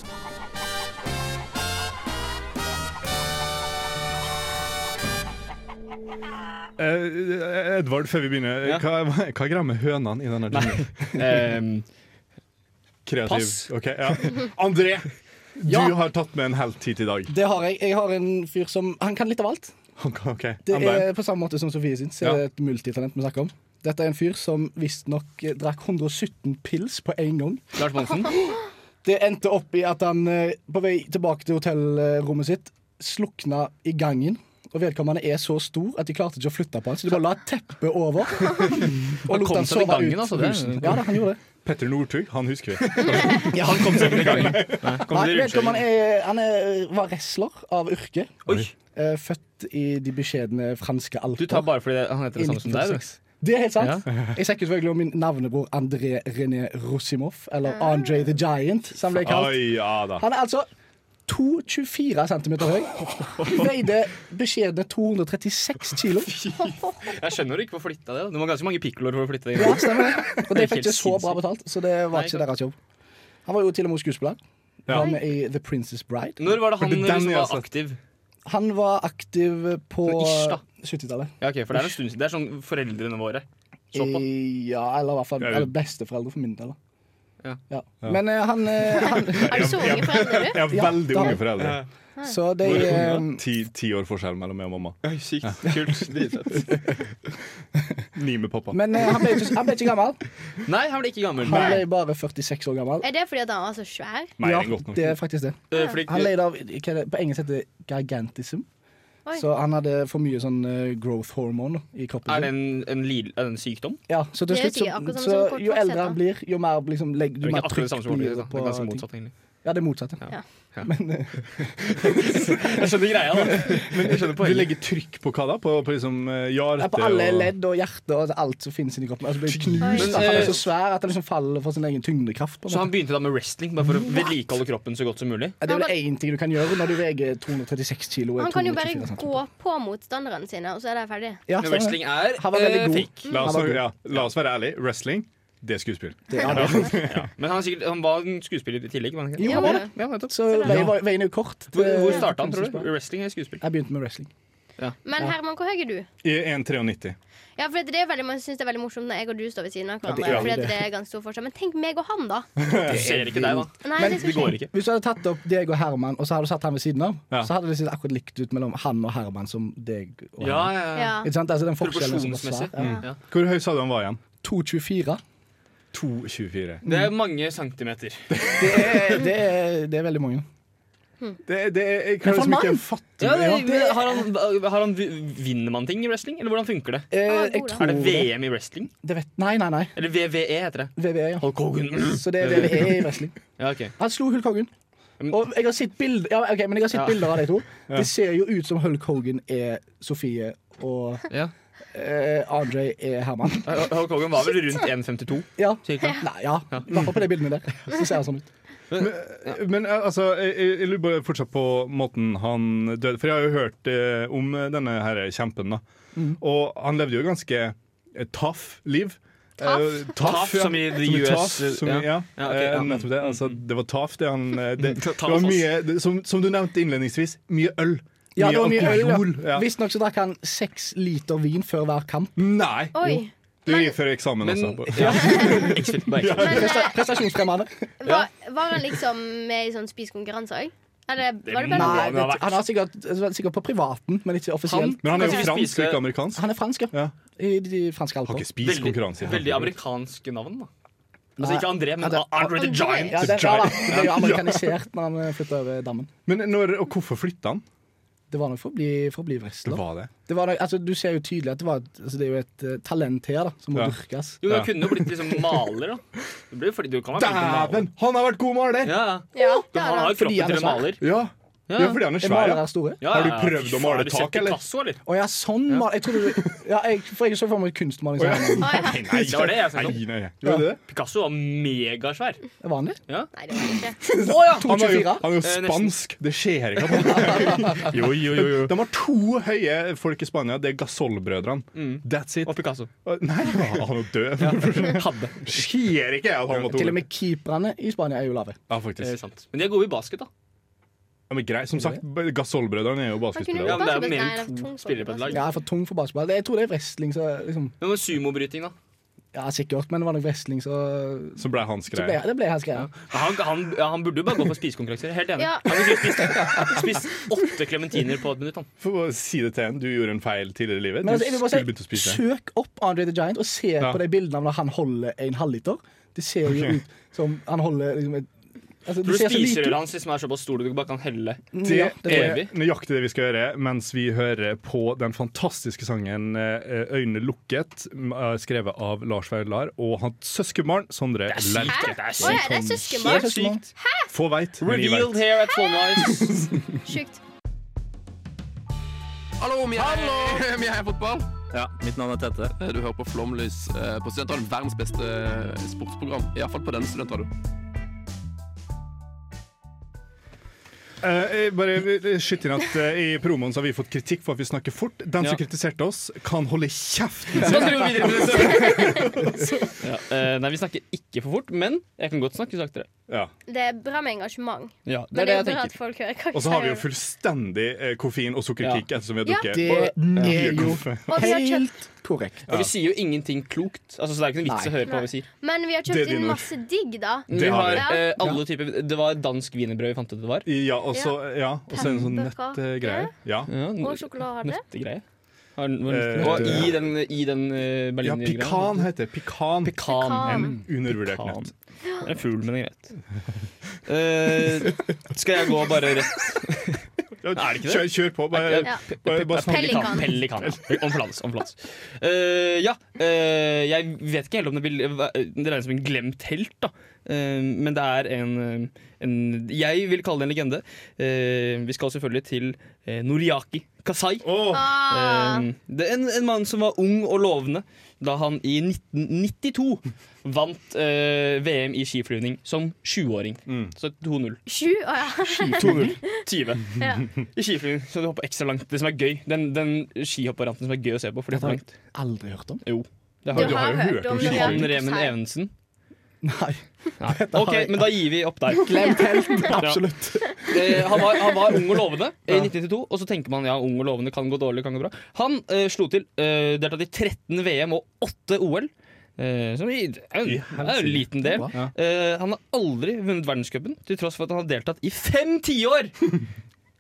[SPEAKER 1] Eh, Edvard, før vi begynner,
[SPEAKER 4] Ja.
[SPEAKER 1] hva, hva er greia med hønene i denne jungelen?
[SPEAKER 4] Ehm,
[SPEAKER 1] Kreativ.
[SPEAKER 4] Pass.
[SPEAKER 1] Ok, ja. André, du
[SPEAKER 3] Ja.
[SPEAKER 1] har tatt med en helt hit i dag.
[SPEAKER 3] Det har jeg. Jeg har en fyr som Han kan litt av alt.
[SPEAKER 1] Ok,
[SPEAKER 3] Det
[SPEAKER 1] I'm down.
[SPEAKER 3] er på samme måte som Sofie sin. Så
[SPEAKER 1] Ja.
[SPEAKER 3] er det et multitalent vi snakker om. Dette er en fyr som visstnok eh, drakk 117 pils på én gang.
[SPEAKER 4] Lars Monsen.
[SPEAKER 3] Det endte opp i at han eh, på vei tilbake til hotellrommet sitt slukna i gangen. Og vedkommende er så stor at de klarte ikke å flytte på han, så de bare la et teppe over. Og
[SPEAKER 4] kom seg i gangen, altså, det er-
[SPEAKER 3] rusen. Ja, da, han gjorde det.
[SPEAKER 1] Petter Northug, han husker vi.
[SPEAKER 3] Ja, han kom seg i gangen.
[SPEAKER 4] Kom til
[SPEAKER 3] vedkommende
[SPEAKER 4] rundkjøringen.
[SPEAKER 3] er, han er, var wrestler av yrke.
[SPEAKER 4] Oi,
[SPEAKER 3] eh, Født i de beskjedne franske alper.
[SPEAKER 4] du tar bare fordi han heter
[SPEAKER 3] I
[SPEAKER 4] det samme som deg, du.
[SPEAKER 3] 1946. Det er helt sant. Jeg sier ikke selvfølgelig om min navnebror André René Rosimov, eller Andre the Giant, som han ble kalt.
[SPEAKER 1] Oi, ja da.
[SPEAKER 3] Han er altså 2,24 cm høy. Veide beskjedne 236 kilo.
[SPEAKER 4] Jeg skjønner ikke hvorfor flytta det. da. Det var ganske mange pikkoloer for å flytte det.
[SPEAKER 3] Ja,
[SPEAKER 4] inn.
[SPEAKER 3] stemmer det. Og de fikk ikke så bra
[SPEAKER 4] sinnssykt.
[SPEAKER 3] betalt, så det var ikke
[SPEAKER 4] Nei,
[SPEAKER 3] deres jobb. Han var jo til og med skuespiller.
[SPEAKER 1] Ja.
[SPEAKER 3] Han er i The Princess Bride.
[SPEAKER 4] Når var det han
[SPEAKER 1] Men den
[SPEAKER 4] liksom
[SPEAKER 1] jeg har
[SPEAKER 4] var
[SPEAKER 1] sett.
[SPEAKER 4] aktiv?
[SPEAKER 3] Han var aktiv på
[SPEAKER 4] Sånn ish, da.
[SPEAKER 3] 70-tallet.
[SPEAKER 4] Ja, ok, for Det er en stund siden. Det er sånn foreldrene våre så på.
[SPEAKER 3] I- Ja, eller i hvert fall
[SPEAKER 1] Ja, ja.
[SPEAKER 3] eller besteforeldre for min del. da.
[SPEAKER 4] Ja.
[SPEAKER 3] Ja. Men eh, han, eh, han
[SPEAKER 2] Har du så unge foreldre, du?
[SPEAKER 1] Jeg har
[SPEAKER 3] Ja,
[SPEAKER 1] veldig
[SPEAKER 3] da-
[SPEAKER 1] unge foreldre.
[SPEAKER 3] Så de eh,
[SPEAKER 1] Ti, ti år forskjell mellom meg og mamma.
[SPEAKER 4] Oi, sykt kult.
[SPEAKER 1] Ni med pappa.
[SPEAKER 3] Men eh, han, ble ikke, han ble ikke gammel.
[SPEAKER 4] Nei, han ble ikke gammel.
[SPEAKER 3] Han ble bare 46 år gammel.
[SPEAKER 2] Er det fordi at han var så svær?
[SPEAKER 1] Mer
[SPEAKER 3] ja,
[SPEAKER 1] enn godt nok.
[SPEAKER 3] det er faktisk det.
[SPEAKER 4] Eh, Fordi,
[SPEAKER 3] Han led av hva er det, på engelsk heter det gigantism.
[SPEAKER 2] Oi.
[SPEAKER 3] Så han hadde for mye sånn eh, growth hormone i kroppen.
[SPEAKER 4] er det
[SPEAKER 3] sin.
[SPEAKER 4] en, en, li- er det en sykdom?
[SPEAKER 3] Ja, så til
[SPEAKER 2] Det er
[SPEAKER 3] slutt,
[SPEAKER 2] jo sikkert akkurat
[SPEAKER 3] så,
[SPEAKER 2] samme
[SPEAKER 3] så
[SPEAKER 2] som kort
[SPEAKER 3] jo
[SPEAKER 2] faksett,
[SPEAKER 3] eldre han
[SPEAKER 2] da.
[SPEAKER 3] blir, jo mer liksom, legg,
[SPEAKER 4] Det
[SPEAKER 3] jo
[SPEAKER 4] er
[SPEAKER 3] mer
[SPEAKER 4] ikke akkurat det
[SPEAKER 3] trygt
[SPEAKER 4] samme som
[SPEAKER 3] blir
[SPEAKER 4] ordentlig.
[SPEAKER 3] det
[SPEAKER 4] Det
[SPEAKER 3] på
[SPEAKER 4] er ganske
[SPEAKER 3] ting.
[SPEAKER 4] motsatt, egentlig.
[SPEAKER 3] Ja, det er motsatte. Ja.
[SPEAKER 4] Jeg skjønner greia, da. Men jeg skjønner
[SPEAKER 1] Du
[SPEAKER 4] poenget.
[SPEAKER 1] legger trykk på hva da? På, på liksom eh, hjerte
[SPEAKER 3] På alle
[SPEAKER 1] og-
[SPEAKER 3] ledd og hjerte og alt som finnes inni kroppen. Altså, blir
[SPEAKER 2] Oi.
[SPEAKER 3] knust, da. han
[SPEAKER 4] Men,
[SPEAKER 3] er
[SPEAKER 4] eh,
[SPEAKER 3] så svær at han liksom faller for sin egen tyngdekraft. På en
[SPEAKER 4] Så han
[SPEAKER 3] måte.
[SPEAKER 4] begynte da med wrestling bare for å vedlikeholde kroppen så godt som mulig?
[SPEAKER 3] Ja, det er vel én ting du kan gjøre når du veier 236 kilo. og er
[SPEAKER 2] Han kan jo
[SPEAKER 3] 224
[SPEAKER 2] bare
[SPEAKER 3] centimeter.
[SPEAKER 2] gå på motstanderne sine, og så er de ferdige.
[SPEAKER 3] Ja,
[SPEAKER 4] Men
[SPEAKER 3] stemmer det.
[SPEAKER 4] wrestling er
[SPEAKER 3] Han var veldig
[SPEAKER 4] eh,
[SPEAKER 3] god.
[SPEAKER 4] fake.
[SPEAKER 1] La oss,
[SPEAKER 3] Han var god.
[SPEAKER 1] ja, la oss være ærlige. Wrestling, det er skuespill.
[SPEAKER 3] Det, ja, det.
[SPEAKER 4] Men han, er sikkert, han var en skuespiller i tillegg. var han ikke?
[SPEAKER 3] Jo, eh, han var det.
[SPEAKER 4] Ja, nettopp.
[SPEAKER 3] Så veien, var- veien er jo kort.
[SPEAKER 4] Hvor,
[SPEAKER 3] til-
[SPEAKER 4] hvor starta han, tror du? Wrestling eller skuespill?
[SPEAKER 3] Jeg begynte med wrestling.
[SPEAKER 2] Men Herman, hvor høy er du?
[SPEAKER 1] I 1,93.
[SPEAKER 2] Ja, for det er veldig, Man syns det er veldig morsomt når jeg og du står ved siden av
[SPEAKER 3] det
[SPEAKER 2] hverandre.
[SPEAKER 3] er jo
[SPEAKER 2] fordi at
[SPEAKER 3] det.
[SPEAKER 2] det er ganske stor forskjell Men tenk meg og han, da!
[SPEAKER 4] Jeg ser ikke deg, da.
[SPEAKER 2] Nei, det,
[SPEAKER 4] Det
[SPEAKER 2] skal skje.
[SPEAKER 4] går ikke.
[SPEAKER 3] Hvis du hadde tatt opp deg og Herman, og så hadde du satt han ved siden av,
[SPEAKER 1] Ja.
[SPEAKER 3] så hadde det sett akkurat likt ut mellom han og Herman som deg og
[SPEAKER 4] Ja,
[SPEAKER 3] Herman.
[SPEAKER 4] ja, ja.
[SPEAKER 2] Ja.
[SPEAKER 3] Ikke sant? Altså, den forskjellen som var
[SPEAKER 4] Proporsjonsmessig.
[SPEAKER 3] svær.
[SPEAKER 4] Ja.
[SPEAKER 3] Ja.
[SPEAKER 1] Hvor høy sa du han var igjen?
[SPEAKER 3] 2,24.
[SPEAKER 1] 2,24.
[SPEAKER 4] Det er mange centimeter.
[SPEAKER 3] Det er, Eh, det, er, det er veldig mange.
[SPEAKER 1] Det, det, jeg
[SPEAKER 3] Men
[SPEAKER 1] kan
[SPEAKER 3] for
[SPEAKER 1] liksom ikke
[SPEAKER 3] mann!
[SPEAKER 1] fatte
[SPEAKER 4] Ja, det,
[SPEAKER 1] Ja,
[SPEAKER 4] men har han, har han, vinner man ting i wrestling, eller hvordan funker det?
[SPEAKER 3] Eh,
[SPEAKER 2] var god,
[SPEAKER 3] jeg
[SPEAKER 2] da.
[SPEAKER 3] tror
[SPEAKER 4] Er det VM i wrestling?
[SPEAKER 3] det vet, nei, nei, nei.
[SPEAKER 4] Eller VVE heter det.
[SPEAKER 3] VVE, ja.
[SPEAKER 4] Hulk Hogan.
[SPEAKER 3] Så det er VVE i wrestling.
[SPEAKER 4] Ja, ok.
[SPEAKER 3] Han slo Hulk Hogan.
[SPEAKER 4] Men-
[SPEAKER 3] Og jeg har sett, bild, ja, ok, men jeg har
[SPEAKER 4] Ja.
[SPEAKER 3] sett bilder av de to. Det ser jo ut som Hulk Hogan er Sofie, og
[SPEAKER 4] Ja.
[SPEAKER 3] eh, Andre er Herman.
[SPEAKER 4] Hulk Hogan var vel rundt 1,52.
[SPEAKER 3] Ja.
[SPEAKER 4] Cirka.
[SPEAKER 3] Nei, ja. I hvert fall på de bildene der. Så ser han sånn ut.
[SPEAKER 1] Men, men eh, altså, jeg, jeg- jeg lurer bare fortsatt på måten han døde For jeg har jo hørt eh, om denne her kjempen, da.
[SPEAKER 4] Mm.
[SPEAKER 1] Og han levde jo et ganske eh, tough liv. Eh,
[SPEAKER 4] Tough, som i the US,
[SPEAKER 1] tough, som i-
[SPEAKER 4] ja.
[SPEAKER 1] ja.
[SPEAKER 4] Ja, ok, ja. Mm.
[SPEAKER 1] Eh, nettopp det. Altså, det var tough, det han eh, Det, det
[SPEAKER 4] Tough, altså.
[SPEAKER 1] var
[SPEAKER 4] ass.
[SPEAKER 1] mye, det, som, som du nevnte innledningsvis, mye øl.
[SPEAKER 3] Ja, det var mye øl.
[SPEAKER 1] alkohol.
[SPEAKER 3] ja.
[SPEAKER 1] Ja.
[SPEAKER 3] Visstnok så drakk han seks liter vin før hver kamp.
[SPEAKER 1] Nei!
[SPEAKER 2] Oi.
[SPEAKER 1] Det gir før eksamen, altså.
[SPEAKER 4] ja. Ikke slutt på det.
[SPEAKER 2] Men
[SPEAKER 3] Presta
[SPEAKER 2] eh,
[SPEAKER 3] prestasjonsfremmende.
[SPEAKER 2] var, var han liksom med i sånn spisekonkurranse òg? Eller var det
[SPEAKER 4] må
[SPEAKER 2] bare
[SPEAKER 3] Nei,
[SPEAKER 4] han ha
[SPEAKER 3] vet,
[SPEAKER 4] vært.
[SPEAKER 3] han er sikkert, sikkert på privaten, men ikke offisielt.
[SPEAKER 1] Men han er jo
[SPEAKER 4] Kanskje vi
[SPEAKER 1] fransk,
[SPEAKER 4] spiser-
[SPEAKER 1] ikke amerikansk.
[SPEAKER 3] Han er fransk, ja.
[SPEAKER 1] Ja.
[SPEAKER 3] I de franske
[SPEAKER 1] Har ikke
[SPEAKER 3] alper.
[SPEAKER 1] spist
[SPEAKER 4] Veldig,
[SPEAKER 1] konkurranse.
[SPEAKER 4] veldig amerikanske navn, da. Altså
[SPEAKER 3] Nei.
[SPEAKER 4] ikke André, men
[SPEAKER 3] Ja, det-
[SPEAKER 4] Andre the Giant.
[SPEAKER 3] Ja, det, ja, da, det ble jo amerikanisert når han eh, flytta over dammen.
[SPEAKER 1] Men når, og hvorfor flytta han?
[SPEAKER 3] Det var nok for å bli, for å bli
[SPEAKER 1] Det
[SPEAKER 3] wrestler.
[SPEAKER 1] var det.
[SPEAKER 3] Det var, nok- altså, du ser jo tydelig at det, var, et- altså, det er jo et eh, talent her da, som må
[SPEAKER 1] Ja.
[SPEAKER 3] dyrkes.
[SPEAKER 4] Jo, men han
[SPEAKER 1] Ja.
[SPEAKER 4] kunne jo blitt liksom maler, da. Du, blir, jo fordi du kan være flink til å male.
[SPEAKER 1] Dæven! Han har vært god maler!
[SPEAKER 4] Ja, ja.
[SPEAKER 2] Ja,
[SPEAKER 4] Du,
[SPEAKER 2] det
[SPEAKER 4] han har
[SPEAKER 2] hadde
[SPEAKER 4] jo
[SPEAKER 3] Fordi
[SPEAKER 4] kroppen til
[SPEAKER 3] han
[SPEAKER 4] en
[SPEAKER 3] er svær.
[SPEAKER 4] maler.
[SPEAKER 1] Ja.
[SPEAKER 4] Ja,
[SPEAKER 1] Det er fordi han er
[SPEAKER 3] Er
[SPEAKER 1] svær.
[SPEAKER 3] malere
[SPEAKER 1] Ja.
[SPEAKER 3] store?
[SPEAKER 4] Ja,
[SPEAKER 1] Har du
[SPEAKER 4] ja, ja.
[SPEAKER 1] prøvd
[SPEAKER 4] Fy
[SPEAKER 1] å male
[SPEAKER 4] faen, har du sett
[SPEAKER 1] tak, eller?
[SPEAKER 4] Picasso, eller?
[SPEAKER 3] Å ja, sånn mal- Jeg trodde du ja, jeg, For jeg så for meg kunstmaling. som han-
[SPEAKER 2] han. Å, ja.
[SPEAKER 4] Nei, det var det jeg snakket om.
[SPEAKER 1] Nei, nei, nei. Gjorde du det?
[SPEAKER 4] Picasso var megasvær.
[SPEAKER 3] Det er Vanlig?
[SPEAKER 2] Nei, det var det ikke.
[SPEAKER 3] Å ja!
[SPEAKER 1] Han er, jo,
[SPEAKER 3] 2,24.
[SPEAKER 1] han er jo
[SPEAKER 4] Eh, nesten.
[SPEAKER 1] spansk. Det skjer ikke. at han- jo, jo, jo, jo. De har to høye folk i Spania. Det er Gasol-brødrene. That's it.
[SPEAKER 4] Og Picasso.
[SPEAKER 1] Nei, han er jo død.
[SPEAKER 4] Hadde.
[SPEAKER 1] Skjer ikke at han var to.
[SPEAKER 3] Til og med keeperne i Spania er jo lave.
[SPEAKER 1] Ja,
[SPEAKER 4] Det er
[SPEAKER 1] faktisk.
[SPEAKER 4] sant. Men de er gode i basket, da.
[SPEAKER 1] Ja, men grei. Som sagt, Gasol-brødrene er jo
[SPEAKER 2] Han kunne jo
[SPEAKER 4] Ja,
[SPEAKER 1] basketspillere.
[SPEAKER 4] men det er jo
[SPEAKER 2] basket-
[SPEAKER 4] mer
[SPEAKER 2] nei, det
[SPEAKER 4] enn
[SPEAKER 2] er for
[SPEAKER 4] to
[SPEAKER 2] tungt for
[SPEAKER 4] spillere på et lag.
[SPEAKER 3] Jeg er for tung for basketball. Jeg tror det er wrestling, så liksom
[SPEAKER 4] Men med sumobryting, da.
[SPEAKER 3] Ja, sikkert, men det var nok wrestling, så,
[SPEAKER 1] Som ble hans
[SPEAKER 3] så ble,
[SPEAKER 1] greie.
[SPEAKER 3] det ble hans greie.
[SPEAKER 4] Ja, Han, han, ja, han burde jo bare gå for spisekonkurranser. Helt enig.
[SPEAKER 2] Ja.
[SPEAKER 4] Han kunne spist, spist åtte klementiner på et minutt. Han.
[SPEAKER 1] Få bare si det til en. Du gjorde en feil tidligere i livet. Du
[SPEAKER 3] Men altså, jeg vil
[SPEAKER 1] skulle begynt å
[SPEAKER 3] bare si,
[SPEAKER 1] spise.
[SPEAKER 3] Søk opp Andre the Giant og se
[SPEAKER 1] Ja.
[SPEAKER 3] på de bildene av når han holder en halvliter. Det ser jo ut som han holder liksom, et,
[SPEAKER 4] Tror
[SPEAKER 3] altså, Det
[SPEAKER 4] du
[SPEAKER 3] ser så lite
[SPEAKER 4] spiserøret
[SPEAKER 3] ut.
[SPEAKER 4] hans liksom er såpass stort at du bare kan helle?
[SPEAKER 1] Det
[SPEAKER 3] Ja, det
[SPEAKER 1] er
[SPEAKER 3] tror jeg.
[SPEAKER 4] jeg.
[SPEAKER 1] nøyaktig det vi skal gjøre mens vi hører på den fantastiske sangen eh, 'Øynene lukket', m- eh, skrevet av Lars Vaular og hans søskenbarn Sondre Lerche.
[SPEAKER 2] Hæ?
[SPEAKER 4] Det er
[SPEAKER 2] Å ja, det er
[SPEAKER 3] Det
[SPEAKER 2] søskenbarn.
[SPEAKER 3] er søskenbarn.
[SPEAKER 1] Få veit, men vi
[SPEAKER 4] Revealed
[SPEAKER 1] veit.
[SPEAKER 4] here at Fornice.
[SPEAKER 2] Sjukt.
[SPEAKER 6] Hallo, vi er,
[SPEAKER 8] Vi er fotball.
[SPEAKER 6] Ja, mitt navn er Tette.
[SPEAKER 8] Du hører på Flomlys eh, på Studentradioen. Verdens beste eh, sportsprogram. Iallfall på denne studentradioen.
[SPEAKER 1] Eh, jeg bare vil skyte inn at eh, I promoen så har vi fått kritikk for at vi snakker fort. Den
[SPEAKER 4] Ja.
[SPEAKER 1] som kritiserte oss, kan holde kjeft!
[SPEAKER 4] Da skal vi gå videre med det. Ja, eh, nei, vi snakker ikke for fort, men jeg kan godt snakke saktere.
[SPEAKER 1] Ja.
[SPEAKER 2] Det er bra med engasjement.
[SPEAKER 4] Ja, det
[SPEAKER 2] Men
[SPEAKER 4] er det
[SPEAKER 2] det er
[SPEAKER 4] jeg
[SPEAKER 2] bra at
[SPEAKER 4] tenker.
[SPEAKER 2] folk hører hva
[SPEAKER 1] Og så har vi jo
[SPEAKER 2] jeg sier.
[SPEAKER 1] fullstendig eh, koffein og sukkerkick ettersom vi har
[SPEAKER 2] Ja.
[SPEAKER 1] drukket.
[SPEAKER 3] Det
[SPEAKER 1] Mye
[SPEAKER 3] er jo
[SPEAKER 1] kaffe.
[SPEAKER 2] Og vi har kjøpt
[SPEAKER 3] helt korrekt.
[SPEAKER 4] Og vi sier jo ingenting klokt, altså, så det er ikke noe vits å høre på hva vi sier.
[SPEAKER 2] Men vi har
[SPEAKER 1] Det er
[SPEAKER 2] kjøpt
[SPEAKER 1] dine
[SPEAKER 2] inn
[SPEAKER 1] ord.
[SPEAKER 2] masse digg, da.
[SPEAKER 4] Vi
[SPEAKER 1] har
[SPEAKER 4] har
[SPEAKER 2] vi.
[SPEAKER 4] eh, alle typer Det var dansk wienerbrød vi fant ut det var.
[SPEAKER 1] Ja, og så ja, og så en sånn
[SPEAKER 2] Pepperkake.
[SPEAKER 1] nettgreie. ja.
[SPEAKER 4] Ja, n-
[SPEAKER 2] Og sjokolade.
[SPEAKER 4] Nøttegreie. Har den- var den-
[SPEAKER 1] Eh,
[SPEAKER 4] Og i den, i den eh,
[SPEAKER 1] ja,
[SPEAKER 4] berlinergreia.
[SPEAKER 1] pikan heter det. Pikan.
[SPEAKER 4] Pekan.
[SPEAKER 1] En undervurdert
[SPEAKER 4] Pekan.
[SPEAKER 1] nøtt.
[SPEAKER 4] Det er en fugl, men det er greit. Eh, skal jeg gå bare rett det ikke det?
[SPEAKER 1] Kjør, kjør på. Bare,
[SPEAKER 4] Ja.
[SPEAKER 1] bare, bare snakk.
[SPEAKER 2] Pelikan.
[SPEAKER 4] sånn Pelikan. ja. Omflades, omflades. Eh, ja, eh, jeg vet ikke helt om det vil Det regnes som en glemt helt, da. Eh, men det er en, eh, en Jeg vil kalle det en legende. Eh, vi skal selvfølgelig til eh, Noriaki Kasai.
[SPEAKER 1] Åh,
[SPEAKER 2] Ah,
[SPEAKER 4] Eh, det er en, en mann som var ung og lovende da han i 1992 vant eh, VM i skiflyvning som sjuåring.
[SPEAKER 3] Mm.
[SPEAKER 4] Så 2-0.
[SPEAKER 2] sju? Å ja.
[SPEAKER 4] 2-0. 20
[SPEAKER 2] ja.
[SPEAKER 4] i skiflyvning. Så du hopper ekstra langt. Det som er gøy, den, den skihopperanten som er gøy å se på. Fordi
[SPEAKER 3] Dette
[SPEAKER 4] det
[SPEAKER 3] har
[SPEAKER 4] er
[SPEAKER 3] jeg
[SPEAKER 4] langt.
[SPEAKER 3] aldri hørt om.
[SPEAKER 4] Jo. Det
[SPEAKER 2] Du
[SPEAKER 4] har du.
[SPEAKER 2] har hørt om
[SPEAKER 4] Han
[SPEAKER 1] det.
[SPEAKER 2] Noriaki
[SPEAKER 4] Remen
[SPEAKER 2] Kasai.
[SPEAKER 4] Evensen.
[SPEAKER 3] Nei.
[SPEAKER 4] OK, men da gir vi opp der.
[SPEAKER 3] Glemt helt. Absolutt.
[SPEAKER 4] Eh, han, var, han var ung og lovende i 1992, og så tenker man ja, ung og lovende kan gå dårlig, kan gå bra. Han eh, slo til. Eh, deltatt i 13 VM og 8 OL. Eh, som i, er jo- er jo en liten del. Eh, han har aldri vunnet verdenscupen, til tross for at han har deltatt i fem tiår!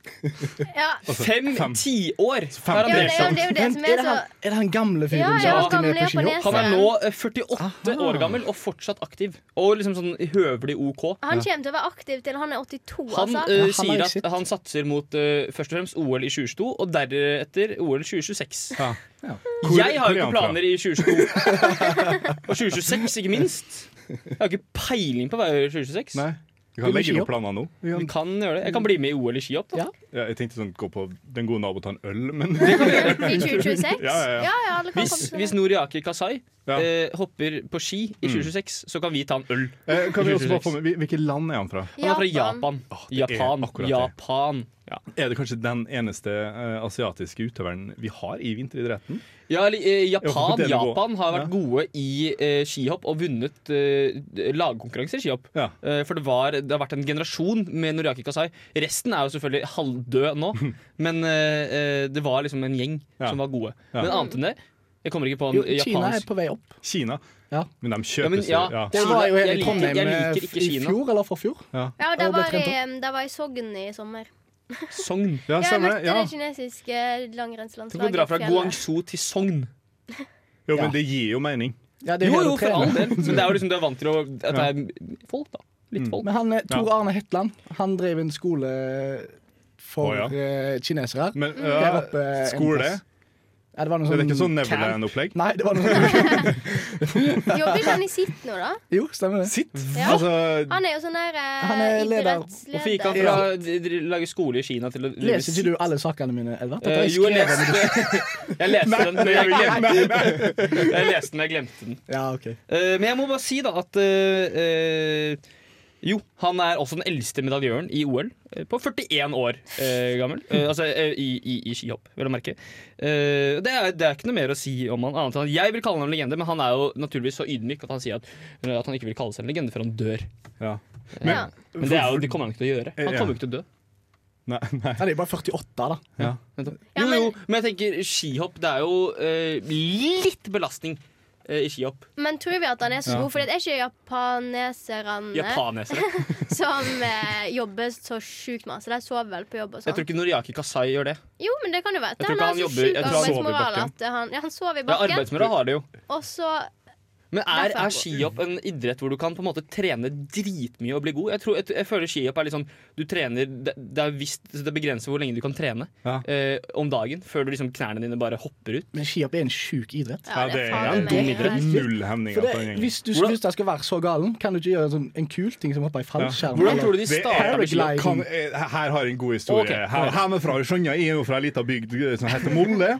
[SPEAKER 2] ja.
[SPEAKER 4] Fem
[SPEAKER 1] Altså, fem.
[SPEAKER 4] tiår!
[SPEAKER 1] fem.
[SPEAKER 4] har
[SPEAKER 2] Ja,
[SPEAKER 4] han
[SPEAKER 2] men det,
[SPEAKER 4] deltatt.
[SPEAKER 2] ja, men det er jo det
[SPEAKER 3] Vent,
[SPEAKER 2] som
[SPEAKER 3] er,
[SPEAKER 2] er
[SPEAKER 3] det
[SPEAKER 2] så
[SPEAKER 3] han, er det han gamle
[SPEAKER 2] Ja,
[SPEAKER 3] fyren
[SPEAKER 2] ja,
[SPEAKER 3] som
[SPEAKER 2] han
[SPEAKER 3] alltid er med
[SPEAKER 2] gamle
[SPEAKER 3] på skihopp?
[SPEAKER 2] japaneser.
[SPEAKER 4] Han er nå eh, 48 år gammel og fortsatt aktiv. Og liksom sånn høvelig OK.
[SPEAKER 2] Han kommer til å være aktiv til han er 82,
[SPEAKER 4] Han eh,
[SPEAKER 2] altså.
[SPEAKER 3] han er
[SPEAKER 4] sier
[SPEAKER 3] jo
[SPEAKER 4] at
[SPEAKER 3] sitt.
[SPEAKER 4] han satser mot eh, først og fremst OL i 2022 og deretter OL 2026.
[SPEAKER 1] Ja.
[SPEAKER 4] Jeg har
[SPEAKER 1] Hvor- hvor er
[SPEAKER 4] jo
[SPEAKER 1] han
[SPEAKER 4] ikke
[SPEAKER 1] fra?
[SPEAKER 4] planer i 2022. og 2026, ikke minst. Jeg har ikke peiling på hva jeg gjør i 2026.
[SPEAKER 1] Nei. Vi kan
[SPEAKER 3] Blir det
[SPEAKER 1] legge opp
[SPEAKER 3] skihopp?
[SPEAKER 1] planene nå. Vi
[SPEAKER 4] Vi kan
[SPEAKER 1] kan-
[SPEAKER 4] gjøre det. Jeg kan bli med i OL i skihopp. da.
[SPEAKER 3] Ja.
[SPEAKER 1] Ja, jeg tenkte sånn gå på Den gode nabo tar en øl, men
[SPEAKER 2] I 2026?
[SPEAKER 1] Ja, ja, ja.
[SPEAKER 2] alle kan
[SPEAKER 4] eh, Hvis,
[SPEAKER 2] komme
[SPEAKER 4] hvis
[SPEAKER 2] til det.
[SPEAKER 4] Noriaki Kasai
[SPEAKER 1] Ja. Mm.
[SPEAKER 4] eh, hopper på ski i 2026, så kan vi ta en øl.
[SPEAKER 1] Eh, Kan vi også bare få med hvil- Hvilket land er han fra?
[SPEAKER 4] Han er fra Japan.
[SPEAKER 1] det er
[SPEAKER 4] Japan.
[SPEAKER 1] akkurat det.
[SPEAKER 4] Japan. Ja.
[SPEAKER 1] Er det kanskje den eneste eh, asiatiske utøveren vi har i vinteridretten?
[SPEAKER 4] Ja, eller, eh,
[SPEAKER 1] Ja, på
[SPEAKER 4] Japan,
[SPEAKER 1] det nivået.
[SPEAKER 4] Japan har vært
[SPEAKER 1] Ja.
[SPEAKER 4] gode i eh, skihopp og vunnet eh, lagkonkurranser i skihopp.
[SPEAKER 1] Ja.
[SPEAKER 4] Eh, for det, var, det har vært en generasjon med Noriaki Kasai. Resten er jo selvfølgelig halvdød nå, men eh, eh, det var liksom en gjeng
[SPEAKER 1] Ja.
[SPEAKER 4] som var gode.
[SPEAKER 1] Ja.
[SPEAKER 4] Men annet enn det Jeg kommer ikke på en
[SPEAKER 3] Jo, Kina er
[SPEAKER 4] japansk
[SPEAKER 3] på vei opp.
[SPEAKER 1] Kina.
[SPEAKER 3] Ja.
[SPEAKER 1] Men de
[SPEAKER 4] Ja, men
[SPEAKER 1] kjøpes
[SPEAKER 4] ja,
[SPEAKER 1] jo. Ja.
[SPEAKER 3] Det
[SPEAKER 4] Kina-
[SPEAKER 3] var jo
[SPEAKER 4] jeg
[SPEAKER 3] hele
[SPEAKER 4] liker-
[SPEAKER 3] Trondheim
[SPEAKER 4] jeg
[SPEAKER 3] eh,
[SPEAKER 4] liker ikke
[SPEAKER 3] i
[SPEAKER 4] Kina.
[SPEAKER 3] fjor, eller forfjor.
[SPEAKER 2] Ja, og der
[SPEAKER 3] Og ble
[SPEAKER 2] var,
[SPEAKER 3] trent
[SPEAKER 2] jeg, der var jeg i Sogn i sommer.
[SPEAKER 4] Sogn.
[SPEAKER 1] Ja,
[SPEAKER 2] Jeg
[SPEAKER 1] stemmer
[SPEAKER 2] møtte
[SPEAKER 1] det. Ja.
[SPEAKER 2] det kinesiske
[SPEAKER 4] Tenk å
[SPEAKER 2] langrennslandslaget.
[SPEAKER 4] dra fra
[SPEAKER 2] på fjellet.
[SPEAKER 4] Guangzhou til Sogn.
[SPEAKER 1] Jo, men det gir jo mening.
[SPEAKER 3] Ja, det
[SPEAKER 4] Jo,
[SPEAKER 3] er hele
[SPEAKER 4] jo, for
[SPEAKER 3] trening.
[SPEAKER 4] all del. Men det er jo liksom du er vant til å, at det er folk, da. Litt folk.
[SPEAKER 3] Men han, eh, Tor Arne Hetland han drev en skole eh,
[SPEAKER 1] Å,
[SPEAKER 3] for
[SPEAKER 1] ja.
[SPEAKER 3] eh, kinesere.
[SPEAKER 1] Men
[SPEAKER 3] Der
[SPEAKER 1] ja,
[SPEAKER 3] oppe en
[SPEAKER 1] skole?
[SPEAKER 3] plass. Ja, det var noe
[SPEAKER 1] Er
[SPEAKER 3] sånn
[SPEAKER 1] det ikke sånn
[SPEAKER 3] camp.
[SPEAKER 1] Neverland-opplegg?
[SPEAKER 3] Nei, det var noe sånn
[SPEAKER 2] Jobber ikke han i sitt nå, da?
[SPEAKER 3] Jo, stemmer det.
[SPEAKER 1] Sitt!
[SPEAKER 2] Ja.
[SPEAKER 1] Altså,
[SPEAKER 2] Han er jo sånn der eh,
[SPEAKER 3] Han er leder.
[SPEAKER 2] idrettsleder.
[SPEAKER 4] Hvorfor gikk han fra d- d- lage skole i Kina til å drive
[SPEAKER 3] Leser ikke du alle sakene mine, Edvard? Dette
[SPEAKER 4] Eh,
[SPEAKER 3] er
[SPEAKER 4] jo, jeg
[SPEAKER 3] skrevet-
[SPEAKER 4] leste, jeg leste den, men jeg glemte den. Jeg leste den, jeg glemte den.
[SPEAKER 3] Ja, ok.
[SPEAKER 4] Eh, men jeg må bare si da at eh, eh, Jo, han er også den eldste medaljøren i OL. eh, På 41 år eh, gammel. Eh, altså eh, i, i, i skihopp, vel å merke. Eh, det, er, det er ikke noe mer å si om han annet enn at jeg vil kalle han en legende, men han er jo naturligvis så ydmyk at han sier at, eh, at han ikke vil kalle seg en legende før han dør.
[SPEAKER 1] ja.
[SPEAKER 2] Ja.
[SPEAKER 4] Men det, er jo, det kommer han ikke til å gjøre. Han
[SPEAKER 1] Ja.
[SPEAKER 4] kommer jo ikke til å dø.
[SPEAKER 1] Nei, nei.
[SPEAKER 3] Han er jo bare 48, da.
[SPEAKER 2] Ja,
[SPEAKER 4] Jo,
[SPEAKER 2] men-
[SPEAKER 4] jo, men jeg tenker skihopp Det er jo eh, litt belastning eh, i skihopp.
[SPEAKER 2] Men tror vi at han er så
[SPEAKER 1] Ja.
[SPEAKER 2] god? For det er ikke japaneserne
[SPEAKER 4] Japanesere.
[SPEAKER 2] som eh, jobber så sjukt masse. De sover vel på jobb og
[SPEAKER 4] Jeg tror
[SPEAKER 2] sånn.
[SPEAKER 4] ikke Noriaki Kasai gjør det.
[SPEAKER 2] Jo, men altså, det kan jo være.
[SPEAKER 4] Jeg
[SPEAKER 2] at
[SPEAKER 4] tror
[SPEAKER 2] Han
[SPEAKER 4] ikke
[SPEAKER 2] har
[SPEAKER 4] han
[SPEAKER 2] så
[SPEAKER 4] jobber-
[SPEAKER 2] sjuk
[SPEAKER 4] jeg tror han sover i
[SPEAKER 2] arbeidsmoral
[SPEAKER 4] bakken.
[SPEAKER 2] at eh, han, ja, han sover i
[SPEAKER 4] Ja,
[SPEAKER 2] bakken.
[SPEAKER 4] Arbeidsmoral har det jo.
[SPEAKER 2] og så
[SPEAKER 4] Men er,
[SPEAKER 2] Derfor er
[SPEAKER 4] er skihopp en idrett hvor du kan på en måte trene dritmye og bli god? Jeg, tror, jeg, jeg føler skihopp er litt sånn Du trener Det, det er visst Det begrenser hvor lenge du kan trene
[SPEAKER 1] Ja.
[SPEAKER 4] eh, om dagen før du liksom knærne dine bare hopper ut.
[SPEAKER 3] Men skihopp er en sjuk idrett.
[SPEAKER 2] Ja, det er
[SPEAKER 1] en
[SPEAKER 2] faen
[SPEAKER 1] dum
[SPEAKER 2] meg
[SPEAKER 1] idrett.
[SPEAKER 2] helt-
[SPEAKER 1] Null hemninger
[SPEAKER 3] For
[SPEAKER 1] på den
[SPEAKER 3] det,
[SPEAKER 1] gjengen.
[SPEAKER 3] hvis du
[SPEAKER 4] Hvordan-
[SPEAKER 3] hvis det skal være så galen, kan du ikke gjøre en sånn, en kul ting som å hoppe i fallskjerm?
[SPEAKER 4] Hvordan tror du de
[SPEAKER 1] Det
[SPEAKER 4] starta
[SPEAKER 1] er-
[SPEAKER 4] med skihopp?
[SPEAKER 3] glad i-
[SPEAKER 1] kan, eh, her har jeg en god historie.
[SPEAKER 4] Ok.
[SPEAKER 1] Her, hermefra i Skjønja er jo fra ei lita bygd eh, som heter Molle.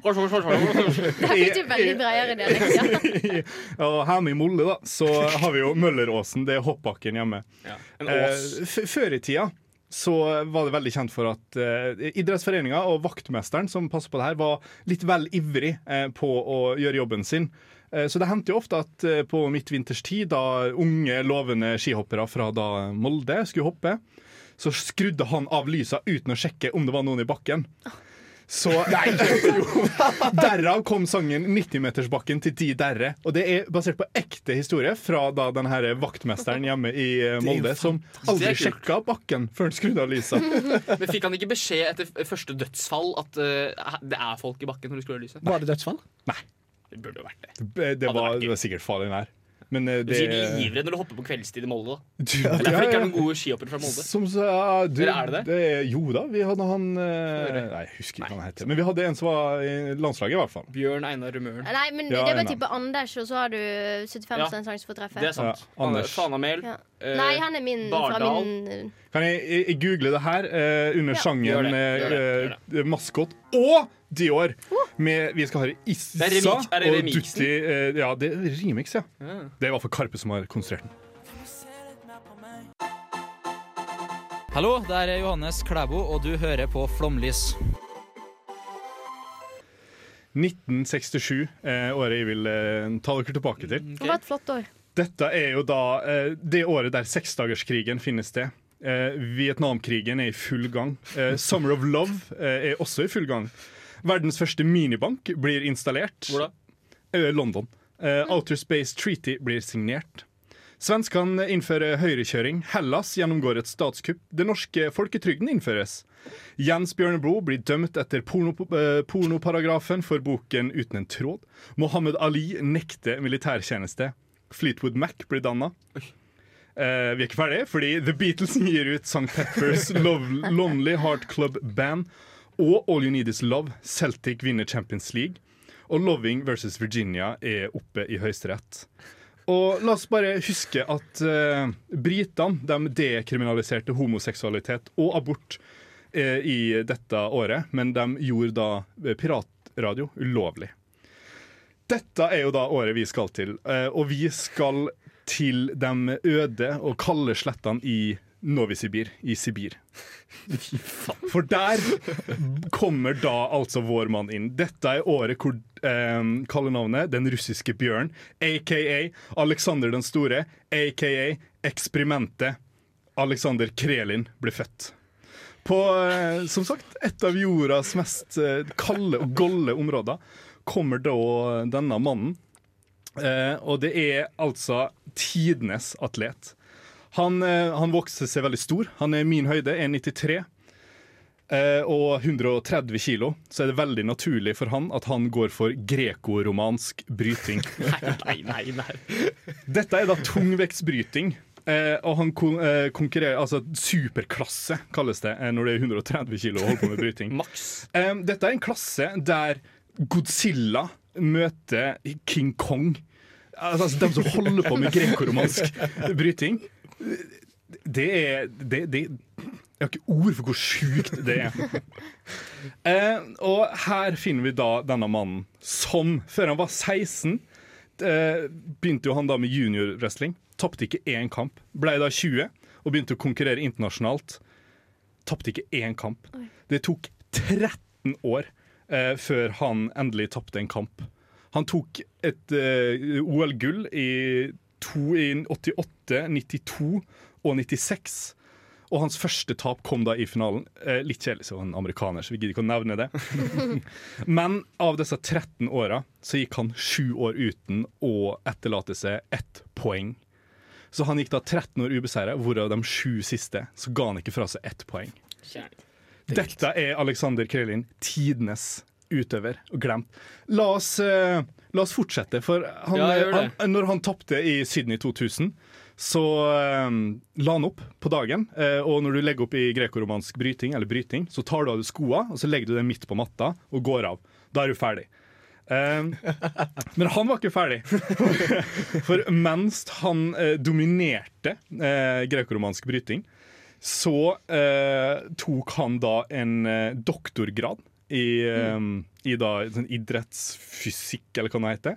[SPEAKER 2] Der fikk du veldig bredere dialekt. Ja.
[SPEAKER 1] Og hjemme i Molle da, så har vi jo Mølleråsen, det er hoppbakken hjemme.
[SPEAKER 4] En ås.
[SPEAKER 1] Eh, f- før i tida så var det veldig kjent for at eh, idrettsforeninga og vaktmesteren som passer på det her, var litt vel ivrig eh, på å gjøre jobben sin. Eh, så det hendte jo ofte at eh, på midtvinterstid, da unge, lovende skihoppere fra da Molde skulle hoppe, så skrudde han av lysa uten å sjekke om det var noen i bakken. Så jo, Derav kom sangen 90-metersbakken til de derre. Og det er basert på ekte historie fra da den her vaktmesteren hjemme i eh, Molde som aldri
[SPEAKER 4] Det er kult.
[SPEAKER 1] sjekka bakken før han skrudde av lysa.
[SPEAKER 4] Men fikk han ikke beskjed etter f- første dødsfall at eh, det er folk i bakken når du skrur av lyset?
[SPEAKER 3] Var det dødsfall?
[SPEAKER 4] Det burde jo vært det.
[SPEAKER 1] Det var, det var sikkert farlig nær. Men eh,
[SPEAKER 4] Du
[SPEAKER 1] det
[SPEAKER 4] sier de er ivrige når du hopper på kveldstid i Molde. da.
[SPEAKER 1] Du-
[SPEAKER 4] Det er derfor det ikke er
[SPEAKER 1] ja,
[SPEAKER 4] noen gode skihoppere fra Molde.
[SPEAKER 1] Som sa du,
[SPEAKER 4] Eller er det det?
[SPEAKER 1] Jo da, vi hadde han eh, Nei, jeg husker ikke hva han heter. Men vi hadde en som var i landslaget, i hvert fall.
[SPEAKER 4] Bjørn Einar Rømøren.
[SPEAKER 2] Nei, men
[SPEAKER 1] Ja,
[SPEAKER 2] det er
[SPEAKER 1] nei.
[SPEAKER 2] bare type Anders, og så har du 75
[SPEAKER 4] Ja.
[SPEAKER 2] sjanse for å treffe.
[SPEAKER 4] Det er sant.
[SPEAKER 1] Ja, Anders.
[SPEAKER 4] Fanamel.
[SPEAKER 2] Ja.
[SPEAKER 4] eh,
[SPEAKER 2] Nei, han er min fra
[SPEAKER 4] Bardal.
[SPEAKER 2] min
[SPEAKER 1] Kan jeg, jeg, jeg google det her eh, under
[SPEAKER 2] Ja.
[SPEAKER 4] Gjør
[SPEAKER 1] sjangen
[SPEAKER 4] det, gjør det,
[SPEAKER 1] eh,
[SPEAKER 4] gjør
[SPEAKER 1] eh, maskot og Dior? Med, vi skal ha Issa
[SPEAKER 4] Det er remix- er det
[SPEAKER 1] og
[SPEAKER 4] remixen?
[SPEAKER 1] Dutti eh, Ja, det er remix, ja. Det er i hvert fall Karpe som har konstruert den.
[SPEAKER 6] Hallo, det er Johannes Klæbo, og du hører på Flomlys.
[SPEAKER 1] 1967, eh, året jeg vil eh, ta dere tilbake til.
[SPEAKER 4] Mm.
[SPEAKER 2] Det var et flott år.
[SPEAKER 1] Dette er jo da eh, det året der seksdagerskrigen finner sted. Eh, Vietnamkrigen er i full gang. Eh, Summer of Love eh, er også i full gang. Verdens første minibank blir installert.
[SPEAKER 4] Hvor da?
[SPEAKER 1] Eh, London. Eh, Outer Space Treaty blir signert. Svenskene innfører høyrekjøring. Hellas gjennomgår et statskupp. Den norske folketrygden innføres. Jens Bjørneboe blir dømt etter porno, eh, pornoparagrafen for boken 'Uten en tråd'. Mohammed Ali nekter militærtjeneste. Fleetwood Mac blir danna. Eh, vi er ikke ferdige, fordi The Beatles gir ut St. Peppers Lov- Lonely Heart Club Band og All You Need Is Love. Celtic vinner Champions League. Og Loving versus Virginia er oppe i Høyesterett. Og la oss bare huske at eh, britene de dekriminaliserte homoseksualitet og abort eh, i dette året, men de gjorde da eh, piratradio ulovlig. Dette er jo da året vi skal til, eh, og vi skal til de øde og kalde slettene i Novi-Sibir, i Sibir. For der kommer da altså vår mann inn. Dette er året hvor eh, kallenavnet Den russiske bjørn, aka Aleksander den store, aka Eksperimentet, Aleksander Krelin, ble født. På, eh, som sagt, et av jordas mest eh, kalde og golde områder kommer da denne mannen. Eh, og det er altså tidenes atlet. Han, eh, han vokser seg veldig stor. Han er min høyde, 1,93. Eh, og 130 kilo, så er det veldig naturlig for han at han går for grekoromansk bryting.
[SPEAKER 4] Nei, nei, nei.
[SPEAKER 1] Dette er da tungvektsbryting. Eh, og han kon eh, konkurrerer Altså superklasse, kalles det, eh, når det er 130 kilo og holder på med bryting.
[SPEAKER 4] Maks.
[SPEAKER 1] Eh, dette er en klasse der Godzilla møter King Kong. Altså, altså de som holder på med grekoromansk bryting. Det er det, det, Jeg har ikke ord for hvor sjukt det er. Eh, og her finner vi da denne mannen som, før han var 16, eh, begynte jo han da med juniorwrestling. Tapte ikke én kamp. Ble da 20 og begynte å konkurrere internasjonalt. Tapte ikke én kamp. Det tok 13 år eh, før han endelig tapte en kamp. Han tok et eh, OL-gull i, to- i 88, 92 og 96. Og hans første tap kom da i finalen. Eh, litt kjedelig, så var han amerikaner, så vi gidder ikke å nevne det. Men av disse 13 åra så gikk han sju år uten å etterlate seg ett poeng. Så han gikk da 13 år ubeseira, hvorav de sju siste så ga han ikke fra seg ett poeng. Dette er Alexander Krelin, tidenes utøver, og glemt. La oss, eh, la oss fortsette, for han,
[SPEAKER 4] Ja, gjør det.
[SPEAKER 1] han, når han tapte i Sydney 2000, så eh, la han opp på dagen. eh, og når du legger opp i grekoromansk bryting, eller bryting, så tar du av deg skoa, og så legger du dem midt på matta og går av. Da er du ferdig. Eh, men han var ikke ferdig. For mens han eh, dominerte eh, grekoromansk bryting, så eh, tok han da en eh, doktorgrad i, eh, i da, sånn idrettsfysikk, eller hva det heter.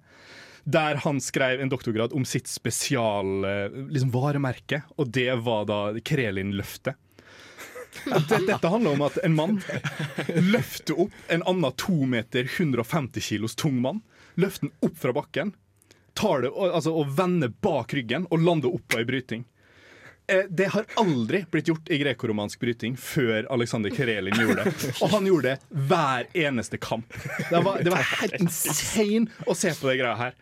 [SPEAKER 1] Der han skrev en doktorgrad om sitt spesial eh, liksom varemerke, og det var da Krelin-løftet. Dette, dette handler om at en mann løfter opp en annen 2 meter 150 kilos tung mann. Løfter den opp fra bakken, tar det og, altså, og vender bak ryggen og lander oppå ei bryting. Eh, Det har aldri blitt gjort i grekoromansk bryting før Alexander Karelin gjorde det. Og han gjorde det hver eneste kamp. Det var, det var helt insane å se på det greia her.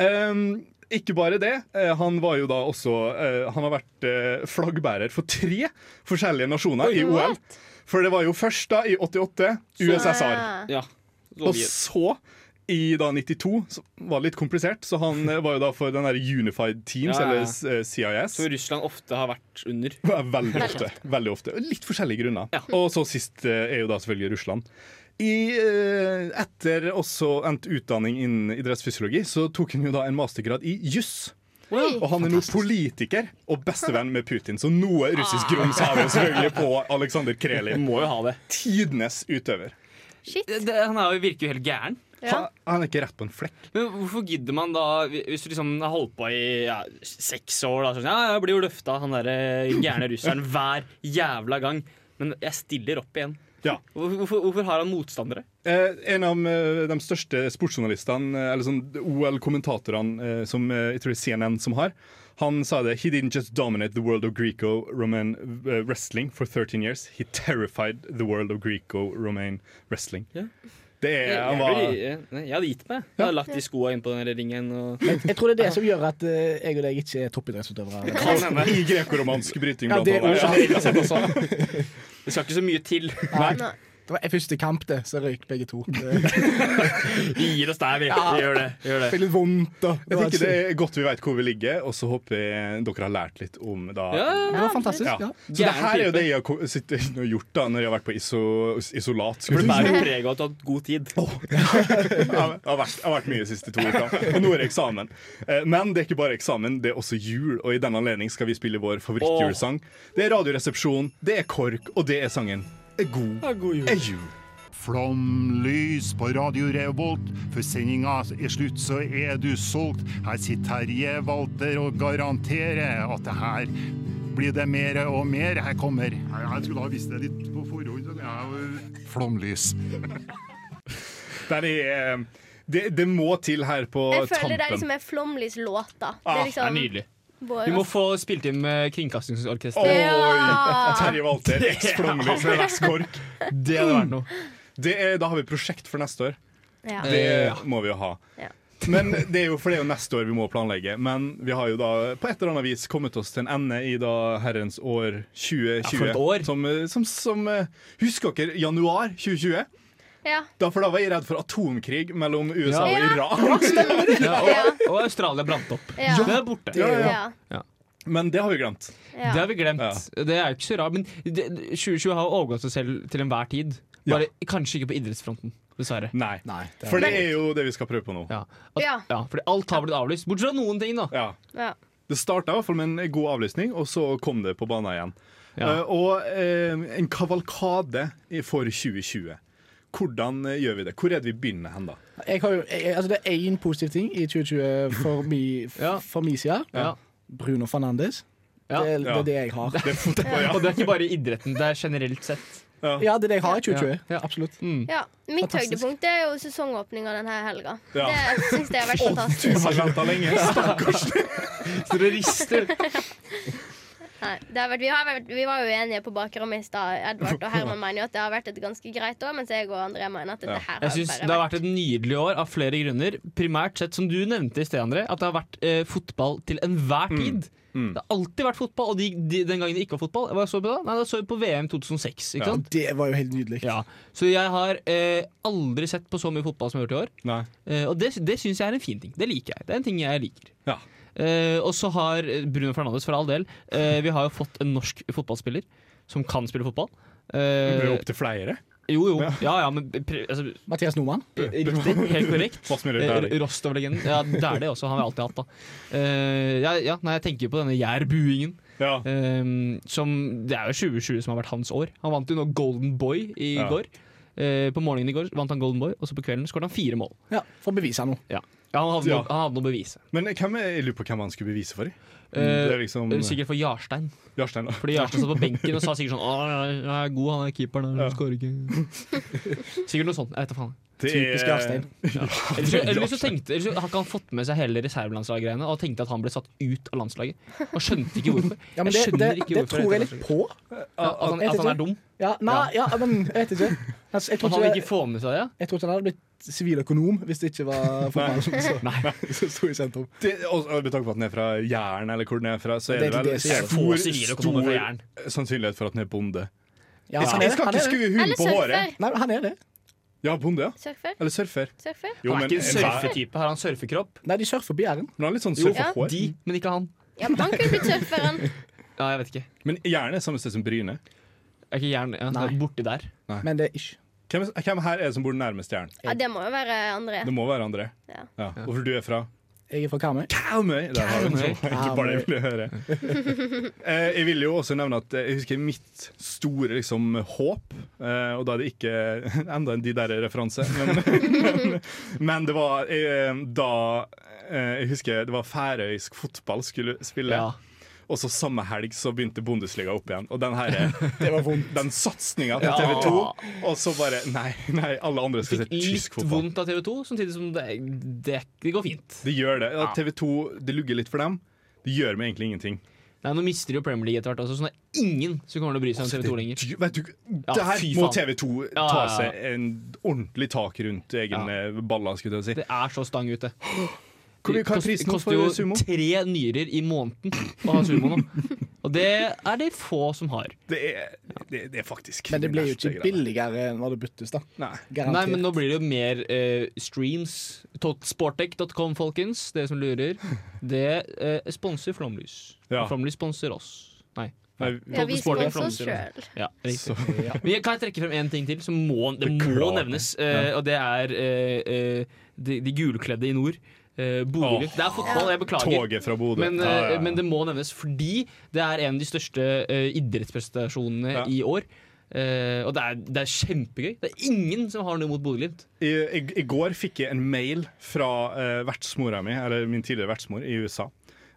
[SPEAKER 1] Ehm, ikke bare det. eh, han var jo da også eh, Han har vært eh, flaggbærer for tre forskjellige nasjoner i OL.
[SPEAKER 2] What?
[SPEAKER 1] For det var jo først da i 88 USSR.
[SPEAKER 2] Ah.
[SPEAKER 4] Ja.
[SPEAKER 1] Og så, i da 92, så var det litt komplisert, så han eh, var jo da for den der Unified Teams,
[SPEAKER 4] Ja, ja, ja.
[SPEAKER 1] eller s- eh, CIS.
[SPEAKER 4] Som Russland ofte har vært under.
[SPEAKER 1] Veldig ofte. Veldig ofte. Litt forskjellige grunner.
[SPEAKER 4] Ja.
[SPEAKER 1] Og så sist eh, er jo da selvfølgelig Russland. I, eh, etter også endt utdanning innen idrettsfysiologi, så tok hun jo da en mastergrad i juss. Og han er nå politiker og bestevenn med Putin, så noe russisk grums har vi jo selvfølgelig på Aleksandr Krelin.
[SPEAKER 4] Må jo ha det.
[SPEAKER 1] Tidenes utøver.
[SPEAKER 2] Shit.
[SPEAKER 4] det han er jo, virker jo helt gæren.
[SPEAKER 2] Ja.
[SPEAKER 1] Han, han er ikke rett på en flekk.
[SPEAKER 4] Men hvorfor gidder man da, hvis du liksom har holdt på i ja, seks år da, sånn, Ja, jeg blir jo løfta av han der eh, gærne russeren hver jævla gang. Men jeg stiller opp igjen.
[SPEAKER 1] Ja.
[SPEAKER 4] Hvorfor, hvorfor, hvorfor har han motstandere?
[SPEAKER 1] Eh, en av eh, de største sportsjournalistene, eh, eller sånn OL-kommentatorene, eh, som eh, jeg tror det er CNN som har, han sa det He didn't just dominate the world of Greco-Roman eh, wrestling for 13 years. He terrified the world of Greco-Roman wrestling.
[SPEAKER 4] Ja.
[SPEAKER 1] Det er,
[SPEAKER 4] Jeg,
[SPEAKER 1] han
[SPEAKER 4] jeg,
[SPEAKER 1] var,
[SPEAKER 4] blir- jeg, nei, jeg hadde gitt meg. Jeg hadde lagt de skoa innpå den der ringen. Og,
[SPEAKER 3] Jeg, jeg tror det er det som gjør at eh, jeg og deg ikke er toppidrettsutøvere.
[SPEAKER 1] I grekoromansk bryting,
[SPEAKER 3] Ja,
[SPEAKER 1] blant
[SPEAKER 3] det er
[SPEAKER 1] annet.
[SPEAKER 3] også-
[SPEAKER 4] det skal ikke så mye til.
[SPEAKER 2] Nei.
[SPEAKER 3] Det var første kamp, det, så røyk begge to.
[SPEAKER 4] Vi gir oss der, vi. Vi gjør det. Vi gjør det.
[SPEAKER 3] Fikk litt vondt og
[SPEAKER 1] Jeg tenker det er godt vi vet hvor vi ligger, og så håper jeg dere har lært litt om da
[SPEAKER 4] Ja,
[SPEAKER 3] Det var fantastisk.
[SPEAKER 1] Ja.
[SPEAKER 3] ja.
[SPEAKER 1] Så det her er jo
[SPEAKER 4] Gæren
[SPEAKER 1] det jeg har ko- sittet inne og gjort da Når jeg har vært på iso, isolat
[SPEAKER 4] For
[SPEAKER 1] skulle
[SPEAKER 4] det
[SPEAKER 1] jeg
[SPEAKER 4] bærer preg av at du har hatt god tid.
[SPEAKER 1] si. Jeg har jeg har vært, jeg har vært mye de siste to uka Og nå er det eksamen Eh, Men det er ikke bare eksamen, det er også jul Og i denne anledning skal vi spille vår favorittjulsang Det er radioresepsjon, det er kork Og det er sangen «E God er jul
[SPEAKER 9] Flomlys på Radio Revolt. Før sendinga er slutt, så er du solgt. Her sitter Terje Walter og garanterer at det her blir det mere og mer. Her kommer Jeg skulle ha visst det litt på forhånd. Flomlys.
[SPEAKER 1] Der er, eh, det, det må til her på
[SPEAKER 2] Jeg føler det er
[SPEAKER 1] tampen
[SPEAKER 2] liksom en Flåmlys-låt, da.
[SPEAKER 4] Det
[SPEAKER 1] Ah, det er
[SPEAKER 2] Det er
[SPEAKER 4] er
[SPEAKER 2] liksom
[SPEAKER 4] nydelig.
[SPEAKER 2] vår-
[SPEAKER 4] Vi må få spilt inn med Kringkastingsorkesteret.
[SPEAKER 2] Ja!
[SPEAKER 1] Terje Walter, eks-flomlys med vers kork
[SPEAKER 4] Det hadde vært noe.
[SPEAKER 1] Det er, Da har vi prosjekt for neste år
[SPEAKER 2] ja.
[SPEAKER 1] Det må vi jo ha.
[SPEAKER 2] Ja.
[SPEAKER 1] Men det er jo, for det er jo neste år vi må planlegge. Men vi har jo da på et eller annet vis kommet oss til en ende i da herrens år 2020.
[SPEAKER 4] Ja, for et år.
[SPEAKER 1] Som, eh, som, som eh, Husker dere januar 2020?
[SPEAKER 2] ja.
[SPEAKER 1] Da, for da var jeg redd for atomkrig mellom USA
[SPEAKER 4] Ja.
[SPEAKER 1] og Iran.
[SPEAKER 4] Ja, og, og Australia brant opp.
[SPEAKER 2] Ja.
[SPEAKER 4] Det er borte.
[SPEAKER 2] Ja, ja.
[SPEAKER 1] Men det har vi glemt.
[SPEAKER 2] ja.
[SPEAKER 4] Det har vi glemt.
[SPEAKER 1] Ja.
[SPEAKER 4] Det er jo ikke så rart. Men det, 2020 har overgått seg selv til enhver tid. Bare Kanskje ikke på idrettsfronten, dessverre.
[SPEAKER 1] Nei.
[SPEAKER 3] Nei, det er-
[SPEAKER 1] For det er jo det vi skal prøve på nå.
[SPEAKER 4] Ja. At, ja.
[SPEAKER 2] Ja.
[SPEAKER 4] fordi alt har blitt avlyst. Bortsett fra noen ting, da.
[SPEAKER 1] Ja.
[SPEAKER 2] Ja.
[SPEAKER 1] Det starta i hvert fall med en god avlysning, og så kom det på banen igjen.
[SPEAKER 4] Ja.
[SPEAKER 1] Eh, og eh, en kavalkade i- for 2020. Hvordan eh, gjør vi det? Hvor er det vi begynner hen, da?
[SPEAKER 3] Jeg har jo, jeg, altså det er én positiv ting i 2020 for, mi,
[SPEAKER 4] Ja.
[SPEAKER 3] for min side.
[SPEAKER 4] Ja.
[SPEAKER 3] Bruno Fernandes.
[SPEAKER 4] Ja.
[SPEAKER 3] Det, er- det
[SPEAKER 1] Ja.
[SPEAKER 3] er det jeg har.
[SPEAKER 1] Det er fotball, ja.
[SPEAKER 4] Og det er ikke bare i idretten, det er generelt sett.
[SPEAKER 3] Ja, det er det jeg har i 2020.
[SPEAKER 4] Ja. Ja.
[SPEAKER 3] Absolutt.
[SPEAKER 2] ja. Mitt
[SPEAKER 3] Fantastisk.
[SPEAKER 2] høydepunkt er jo sesongåpninga denne helga.
[SPEAKER 1] Ja.
[SPEAKER 2] Det syns jeg har vært fantastisk.
[SPEAKER 1] Du har venta lenge. Stakkars.
[SPEAKER 4] Så det rister.
[SPEAKER 2] Nei, det har vært, vi, har vært, vi var jo enige på bakrommet i stad. Edvard og Herman mener jo at det har vært et ganske greit år, mens jeg og André mener at dette her
[SPEAKER 4] Jeg
[SPEAKER 2] har
[SPEAKER 4] synes
[SPEAKER 2] bare
[SPEAKER 4] Det har vært et nydelig år av flere grunner. Primært sett, som du nevnte i sted, André, at det har vært eh, fotball til
[SPEAKER 1] Mm.
[SPEAKER 4] enhver tid. Det har alltid vært fotball, og de, de, den gangen det ikke var fotball Hva så vi på da? Nei, da så vi på VM 2006. ikke
[SPEAKER 1] Ja.
[SPEAKER 4] sant?
[SPEAKER 3] Det var jo helt nydelig.
[SPEAKER 4] Ja. Så jeg har eh, aldri sett på så mye fotball som jeg har gjort i år.
[SPEAKER 1] Nei.
[SPEAKER 4] Eh, og det, det syns jeg er en fin ting. Det liker jeg. Det er en ting jeg liker.
[SPEAKER 1] Ja.
[SPEAKER 4] Eh, og så har eh, Bruno Fernandes, for all del eh, Vi har jo fått en norsk fotballspiller som kan spille fotball.
[SPEAKER 1] Det
[SPEAKER 4] Eh,
[SPEAKER 1] blir opp til flere.
[SPEAKER 4] jo, jo. Ja, ja, men pre, altså,
[SPEAKER 3] Mathias Nordmann.
[SPEAKER 4] Riktig, helt korrekt.
[SPEAKER 1] Mads Mjelde
[SPEAKER 4] Eh,
[SPEAKER 1] Dæhlie.
[SPEAKER 4] Rostov-legenden. Ja, det er det også. Han har vi alltid hatt, da. Eh, ja, ja, nei, jeg tenker på denne jærbuingen.
[SPEAKER 1] Ja.
[SPEAKER 4] eh, som, det er jo 2020 som har vært hans år. Han vant jo nå Golden Boy i
[SPEAKER 1] Ja.
[SPEAKER 4] går. Eh, på morgenen i går vant han Golden Boy, og så på kvelden skåret han fire mål.
[SPEAKER 3] Ja, For å bevise noe.
[SPEAKER 4] Ja, ja Han hadde
[SPEAKER 1] Ja.
[SPEAKER 4] noe, han hadde noe å bevise.
[SPEAKER 1] Men hvem er, jeg lurer på hvem han skulle bevise for.
[SPEAKER 4] Eh,
[SPEAKER 1] det er liksom
[SPEAKER 4] eh, Sikkert for Jarstein.
[SPEAKER 1] Jarstein. da.
[SPEAKER 4] Fordi Jarstein satt på benken og sa sikkert sånn Å, jeg er god, han er keeperen, han skårer ikke. Sikkert noe sånt. Jeg vet da faen.
[SPEAKER 1] Det er-
[SPEAKER 3] Typisk Jarstein.
[SPEAKER 4] Eller så, eller så tenkte eller så Har ikke han fått med seg hele reservelandslaggreiene og tenkte at han ble satt ut av landslaget? Og skjønte ikke hvorfor.
[SPEAKER 3] Ja,
[SPEAKER 4] jeg
[SPEAKER 3] men det,
[SPEAKER 4] skjønner
[SPEAKER 3] det,
[SPEAKER 4] ikke
[SPEAKER 3] det
[SPEAKER 4] hvorfor
[SPEAKER 3] tror jeg
[SPEAKER 4] dette
[SPEAKER 3] litt
[SPEAKER 4] landslaget-
[SPEAKER 3] på.
[SPEAKER 4] At han,
[SPEAKER 3] Jeg
[SPEAKER 4] at han er
[SPEAKER 3] tror-
[SPEAKER 4] dum?
[SPEAKER 3] Ja, nei, ja, men jeg vet ikke. Altså, jeg
[SPEAKER 4] At
[SPEAKER 3] tror
[SPEAKER 4] han
[SPEAKER 3] ikke,
[SPEAKER 4] ikke får med seg det?
[SPEAKER 3] jeg tror ikke han hadde blitt siviløkonom hvis det ikke var fotball som som sto i sentrum.
[SPEAKER 1] Det, og, og Med tanke på at den er fra Jæren, eller hvor den er fra, så er det,
[SPEAKER 3] Det er ikke
[SPEAKER 1] vel
[SPEAKER 3] det som er det.
[SPEAKER 4] Få sivile kommer fra Jæren.
[SPEAKER 1] sannsynlighet for at den er bonde.
[SPEAKER 3] Ja,
[SPEAKER 1] Jeg skal, jeg skal ikke
[SPEAKER 3] han er det.
[SPEAKER 1] skue hunden
[SPEAKER 2] Eller
[SPEAKER 1] på håret.
[SPEAKER 2] surfer.
[SPEAKER 3] Nei, han er det.
[SPEAKER 1] Ja, bonde, ja.
[SPEAKER 2] Surfer.
[SPEAKER 1] Eller surfer.
[SPEAKER 2] surfer.
[SPEAKER 1] Jo,
[SPEAKER 4] Han er ikke en
[SPEAKER 1] enhver-
[SPEAKER 4] surfetype. Har han surfekropp?
[SPEAKER 3] Nei, de surfer på Jæren.
[SPEAKER 1] men han har litt sånn
[SPEAKER 4] Jo,
[SPEAKER 1] surfehår.
[SPEAKER 4] de, men ikke han.
[SPEAKER 2] Ja, men han kunne blitt surferen.
[SPEAKER 4] Ja, jeg vet ikke.
[SPEAKER 1] Men Jæren er samme sted som Bryne.
[SPEAKER 4] Er ikke jern, ja,
[SPEAKER 3] Nei.
[SPEAKER 4] borti der.
[SPEAKER 3] Men det er ikke
[SPEAKER 1] Hvem, hvem her er det som bor nærmest Jæren?
[SPEAKER 2] Ja, det må jo være André.
[SPEAKER 1] Det må være André.
[SPEAKER 2] Ja.
[SPEAKER 1] Ja. Hvorfor du er fra?
[SPEAKER 3] Jeg er fra Karmøy.
[SPEAKER 1] Karmøy! Der har du den. Det var Ikke bare det jeg ville høre. Eh, Jeg vil jo også nevne at eh, jeg husker mitt store liksom, håp, eh, og da er det ikke enda en de der referanse, men, men, men det var eh, da eh, Jeg husker det var færøysk fotball skulle spille.
[SPEAKER 4] Ja.
[SPEAKER 1] Og så samme helg så begynte Bundesliga opp igjen. Og den her,
[SPEAKER 3] Det var vondt.
[SPEAKER 1] den satsinga til
[SPEAKER 4] Ja.
[SPEAKER 1] TV 2. Og så bare Nei, nei, alle andre skal se
[SPEAKER 4] Fikk
[SPEAKER 1] tysk
[SPEAKER 4] litt
[SPEAKER 1] fotball.
[SPEAKER 4] vondt av TV 2, samtidig som det, det, det går fint.
[SPEAKER 1] Det gjør det. Ja, TV 2 det lugger litt for dem. Det gjør meg egentlig ingenting.
[SPEAKER 4] Nei, Nå mister de jo Premier League etter hvert også, så nå er det ingen som kommer til å bry seg om TV 2 lenger.
[SPEAKER 1] Du- Vet du,
[SPEAKER 4] Ja,
[SPEAKER 1] det her
[SPEAKER 4] fy
[SPEAKER 1] må
[SPEAKER 4] faen.
[SPEAKER 1] TV 2
[SPEAKER 4] Ja, ja,
[SPEAKER 1] ta
[SPEAKER 4] ja.
[SPEAKER 1] seg en ordentlig tak rundt egne baller, skulle jeg til å si.
[SPEAKER 4] Det er så stang ute.
[SPEAKER 1] Hvor mye- hva er
[SPEAKER 4] Kost-
[SPEAKER 1] prisen
[SPEAKER 3] eh,
[SPEAKER 4] koster
[SPEAKER 1] for
[SPEAKER 4] jo
[SPEAKER 1] sumo?
[SPEAKER 4] tre nyrer i måneden å ha sumo nå. Og det er det få som har.
[SPEAKER 1] Det er, det, det er faktisk
[SPEAKER 3] Men det blir jo
[SPEAKER 1] verste
[SPEAKER 3] ikke
[SPEAKER 1] greiene.
[SPEAKER 3] billigere når det byttes, da.
[SPEAKER 1] Nei.
[SPEAKER 4] Nei,
[SPEAKER 3] Garantert.
[SPEAKER 4] men nå blir det jo mer eh, streams. Sportec.com, folkens, dere som lurer. Det eh, sponser Flomlys.
[SPEAKER 1] Ja.
[SPEAKER 4] Flomlys sponser oss. Nei.
[SPEAKER 1] Nei,
[SPEAKER 2] Ja, vi
[SPEAKER 4] Sportec
[SPEAKER 2] sponser oss
[SPEAKER 4] sponser
[SPEAKER 2] sjøl.
[SPEAKER 4] Ja, riktig. Men jeg, kan jeg trekke frem én ting til som må, det må
[SPEAKER 1] Beklager.
[SPEAKER 4] nevnes? eh, og det er eh, eh, de, de gulkledde i nord. Uh, Bodø.
[SPEAKER 1] Åh.
[SPEAKER 4] Det er fotball, jeg beklager.
[SPEAKER 1] Toget fra Bodø.
[SPEAKER 4] Men,
[SPEAKER 1] Ja, ja,
[SPEAKER 4] eh,
[SPEAKER 1] ja.
[SPEAKER 4] men det må nevnes fordi det er en av de største eh, idrettsprestasjonene
[SPEAKER 1] Ja.
[SPEAKER 4] i år. Eh, og det er, det er kjempegøy. Det er ingen som har noe mot Bodø-Glimt.
[SPEAKER 1] I, i, I går fikk jeg en mail fra eh, vertsmora mi, eller min tidligere vertsmor, i USA.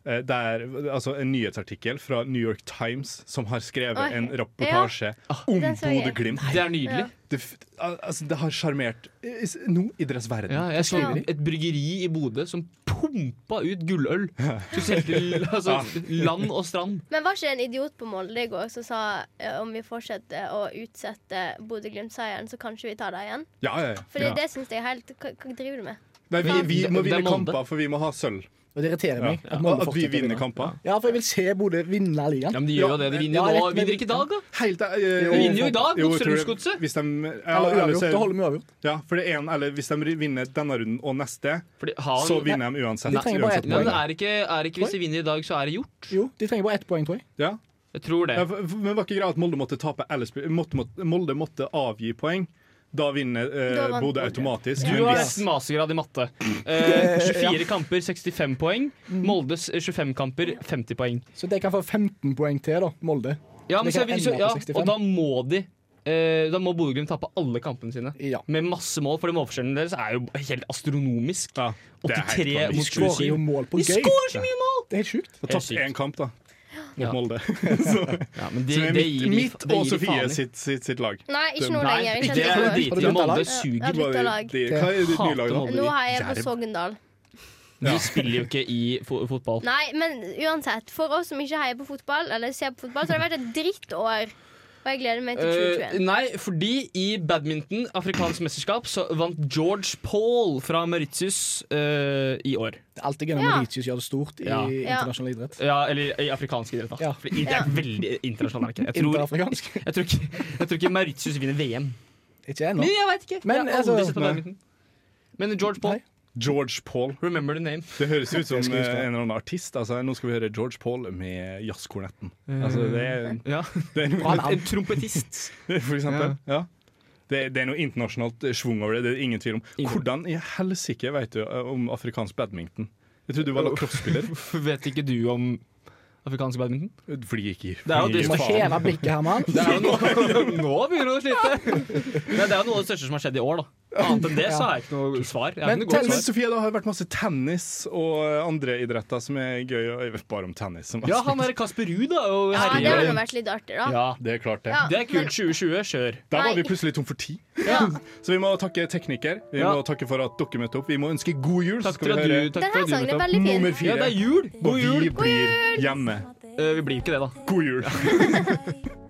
[SPEAKER 1] Eh, der, altså En nyhetsartikkel fra New York Times som har skrevet
[SPEAKER 2] Oi. Ah.
[SPEAKER 1] en reportasje om
[SPEAKER 2] den så jeg.
[SPEAKER 1] Bodø-Glimt.
[SPEAKER 4] Det er nydelig.
[SPEAKER 1] Det, f- al- altså, det har sjarmert eh, s- nordidrettsverden.
[SPEAKER 4] Ja, jeg så et bryggeri i Bodø som pumpa ut gulløl. Som solgte l- altså, land og strand.
[SPEAKER 2] Men var ikke en idiot på Molde i går som sa eh, om vi fortsetter å utsette Bodø-Glimt-seieren, så kanskje vi tar det igjen?
[SPEAKER 1] Ja, ja, ja.
[SPEAKER 2] Fordi det syns jeg er helt Hva, hva driver du med?
[SPEAKER 1] Nei, vi, vi
[SPEAKER 4] Det-
[SPEAKER 1] må
[SPEAKER 4] det er
[SPEAKER 1] vinne
[SPEAKER 4] Molde.
[SPEAKER 1] kamper, for vi må ha sølv.
[SPEAKER 3] Og det irriterer
[SPEAKER 1] Ja.
[SPEAKER 3] meg. At, Molde
[SPEAKER 1] At vi
[SPEAKER 3] fortsetter å vinne.
[SPEAKER 1] vinner kamper.
[SPEAKER 3] Ja, for jeg vil se Bodø vinne ligaen.
[SPEAKER 4] Ja, men de gjør jo det. De vinner jo nå. Vinner ikke i dag, da?
[SPEAKER 1] Helt, eh,
[SPEAKER 4] Vi vinner jo i dag
[SPEAKER 1] Jo,
[SPEAKER 4] mot
[SPEAKER 1] jeg tror det-
[SPEAKER 4] Strømsgodset.
[SPEAKER 1] Hvis de,
[SPEAKER 3] Eller
[SPEAKER 1] eller, eller,
[SPEAKER 3] uavgjort. Da holder vi uavgjort.
[SPEAKER 1] ja, for det er en, eller hvis de vinner denne runden og neste,
[SPEAKER 4] Fordi han,
[SPEAKER 1] så vinner de uansett.
[SPEAKER 3] De trenger bare
[SPEAKER 1] uansett
[SPEAKER 3] ett
[SPEAKER 4] Nei, men
[SPEAKER 1] poeng.
[SPEAKER 4] er ikke, er ikke Hvis de vinner i dag, så er det gjort.
[SPEAKER 3] Jo, de trenger bare ett poeng, tror jeg.
[SPEAKER 1] Ja.
[SPEAKER 4] Jeg tror det.
[SPEAKER 1] Ja, for- for- men var ikke greia at Molde måtte tape eller spille- måtte, måtte, Molde måtte avgi poeng. Da vinner
[SPEAKER 2] Da
[SPEAKER 1] eh,
[SPEAKER 2] vant
[SPEAKER 1] Bodø
[SPEAKER 2] Molde.
[SPEAKER 1] automatisk.
[SPEAKER 4] Du
[SPEAKER 1] Men
[SPEAKER 4] har
[SPEAKER 1] hvis-
[SPEAKER 4] nesten mastergrad i matte. Eh, 24 kamper, 65 poeng. Moldes eh, 25 kamper, 50 poeng.
[SPEAKER 3] Så de kan få 15 poeng til, da, Molde.
[SPEAKER 4] Ja, men
[SPEAKER 3] Det
[SPEAKER 4] så,
[SPEAKER 3] kan
[SPEAKER 4] så,
[SPEAKER 3] ende
[SPEAKER 4] ja,
[SPEAKER 3] på 65.
[SPEAKER 4] og da må de eh, Da må Bodø-Glimt tape alle kampene sine.
[SPEAKER 3] Ja.
[SPEAKER 4] Med masse mål, for de målforskjellen deres er jo helt astronomisk.
[SPEAKER 1] Ja, det er helt
[SPEAKER 4] 83
[SPEAKER 1] vanvittig.
[SPEAKER 3] De
[SPEAKER 4] mot
[SPEAKER 3] skårer
[SPEAKER 4] 27.
[SPEAKER 3] jo mål på
[SPEAKER 4] De
[SPEAKER 3] gøy.
[SPEAKER 4] skårer så mye mål!
[SPEAKER 3] Det er helt sjukt.
[SPEAKER 4] Helt
[SPEAKER 1] Og tapt
[SPEAKER 4] sykt.
[SPEAKER 1] én kamp, da. Mot
[SPEAKER 4] Ja.
[SPEAKER 1] Molde. så
[SPEAKER 4] Ja, men det,
[SPEAKER 1] så det er
[SPEAKER 4] det gir
[SPEAKER 1] mitt,
[SPEAKER 4] de,
[SPEAKER 1] mitt
[SPEAKER 4] det gir
[SPEAKER 1] og
[SPEAKER 4] de
[SPEAKER 1] Sofie
[SPEAKER 4] faen i.
[SPEAKER 1] sitt, sitt, sitt lag.
[SPEAKER 2] Nei, ikke nå
[SPEAKER 4] Nei,
[SPEAKER 2] lenger.
[SPEAKER 4] det er
[SPEAKER 2] Jeg kjenner
[SPEAKER 4] det
[SPEAKER 2] ikke
[SPEAKER 4] drit
[SPEAKER 3] Har du
[SPEAKER 4] i.
[SPEAKER 3] byttet
[SPEAKER 4] Molde
[SPEAKER 3] lag?
[SPEAKER 2] Jeg har
[SPEAKER 4] suger.
[SPEAKER 2] bytta lag.
[SPEAKER 1] De, hva er ditt nye lag,
[SPEAKER 4] Hater
[SPEAKER 1] da?
[SPEAKER 4] Molde.
[SPEAKER 2] Nå heier jeg på
[SPEAKER 1] Jerv.
[SPEAKER 2] Sogndal.
[SPEAKER 4] De spiller jo ikke i fo fotball.
[SPEAKER 2] Nei, men uansett. For oss som ikke heier på fotball, eller ser på fotball, så har det vært et drittår. Og jeg gleder meg til
[SPEAKER 4] Eh,
[SPEAKER 2] 2021.
[SPEAKER 4] nei, fordi i badminton, afrikansk mesterskap, så vant George Paul fra Mauritius eh, i år.
[SPEAKER 3] Det er alltid gøy når
[SPEAKER 2] Ja.
[SPEAKER 3] Mauritius gjør det stort i
[SPEAKER 4] Ja.
[SPEAKER 3] internasjonal idrett.
[SPEAKER 4] Ja, eller i afrikansk idrett, da.
[SPEAKER 3] Ja.
[SPEAKER 4] Fordi det er veldig internasjonalt. er det ikke? Jeg tror,
[SPEAKER 3] Interafrikansk.
[SPEAKER 4] Jeg tror, ikke, jeg tror ikke Mauritius vinner VM.
[SPEAKER 3] Ikke ennå.
[SPEAKER 4] Men jeg vet ikke.
[SPEAKER 3] Men,
[SPEAKER 4] jeg har aldri
[SPEAKER 3] altså-
[SPEAKER 4] sett på
[SPEAKER 1] Nei.
[SPEAKER 4] badminton. Men eh, George Paul,
[SPEAKER 3] Nei.
[SPEAKER 1] George Paul.
[SPEAKER 4] remember the name.
[SPEAKER 1] Det høres ut som
[SPEAKER 3] Jeg skal
[SPEAKER 1] eh,
[SPEAKER 3] huske det.
[SPEAKER 1] en eller annen artist. Altså, nå skal vi høre George Paul med jazzkornetten.
[SPEAKER 4] Eh.
[SPEAKER 1] Altså, det, er-
[SPEAKER 4] Ja.
[SPEAKER 1] det er
[SPEAKER 4] En,
[SPEAKER 1] noe,
[SPEAKER 4] en trompetist.
[SPEAKER 1] for eksempel. Ja. Det, det er noe internasjonalt eh, schwung over det. Det er ingen tvil om.
[SPEAKER 4] Ingen.
[SPEAKER 1] Hvordan i helsike vet du eh, om afrikansk badminton? Jeg trodde du var lacrosse-spiller.
[SPEAKER 4] Vet ikke du om afrikansk badminton?
[SPEAKER 1] Fordi jeg gir.
[SPEAKER 4] Det er jo det
[SPEAKER 3] Du må heve blikket, Herman.
[SPEAKER 4] Det er jo noe, nå begynner du å slite! Nei, det er jo noe av det største som har skjedd i år, da. Annet enn det så har jeg ikke noe svar. Jeg har
[SPEAKER 3] Men
[SPEAKER 4] ikke noe godt
[SPEAKER 3] tell-
[SPEAKER 1] Men
[SPEAKER 4] svar.
[SPEAKER 1] Sofie, det har vært masse tennis og eh, andre idretter som er gøy. og Jeg vet bare om tennis. Som
[SPEAKER 4] Ja, han derre Kasper Ruud, da. Og
[SPEAKER 2] Ja, det
[SPEAKER 4] herjer.
[SPEAKER 2] hadde vært litt artig, da.
[SPEAKER 4] Ja,
[SPEAKER 1] Det er klart, det.
[SPEAKER 2] Ja,
[SPEAKER 4] det er kult.
[SPEAKER 2] men-
[SPEAKER 4] 2020, kjør.
[SPEAKER 1] Der var
[SPEAKER 2] Nei.
[SPEAKER 1] vi plutselig tom for tid.
[SPEAKER 2] Ja.
[SPEAKER 1] Så vi må takke tekniker. Vi
[SPEAKER 4] Ja.
[SPEAKER 1] må takke for at dere møtte opp. Vi må ønske god jul.
[SPEAKER 4] Takk
[SPEAKER 1] skal
[SPEAKER 4] for
[SPEAKER 1] vi
[SPEAKER 4] at du
[SPEAKER 1] høre
[SPEAKER 4] takk for
[SPEAKER 2] Denne
[SPEAKER 4] at du
[SPEAKER 2] sangen
[SPEAKER 4] møtte
[SPEAKER 2] er
[SPEAKER 4] opp.
[SPEAKER 2] veldig fin.
[SPEAKER 1] Nummer
[SPEAKER 4] Ja,
[SPEAKER 1] fire.
[SPEAKER 4] det er jul! God
[SPEAKER 1] Og
[SPEAKER 4] jul!
[SPEAKER 1] vi blir hjemme.
[SPEAKER 4] Eh, Vi blir ikke det, da.
[SPEAKER 1] God jul.
[SPEAKER 10] God jul!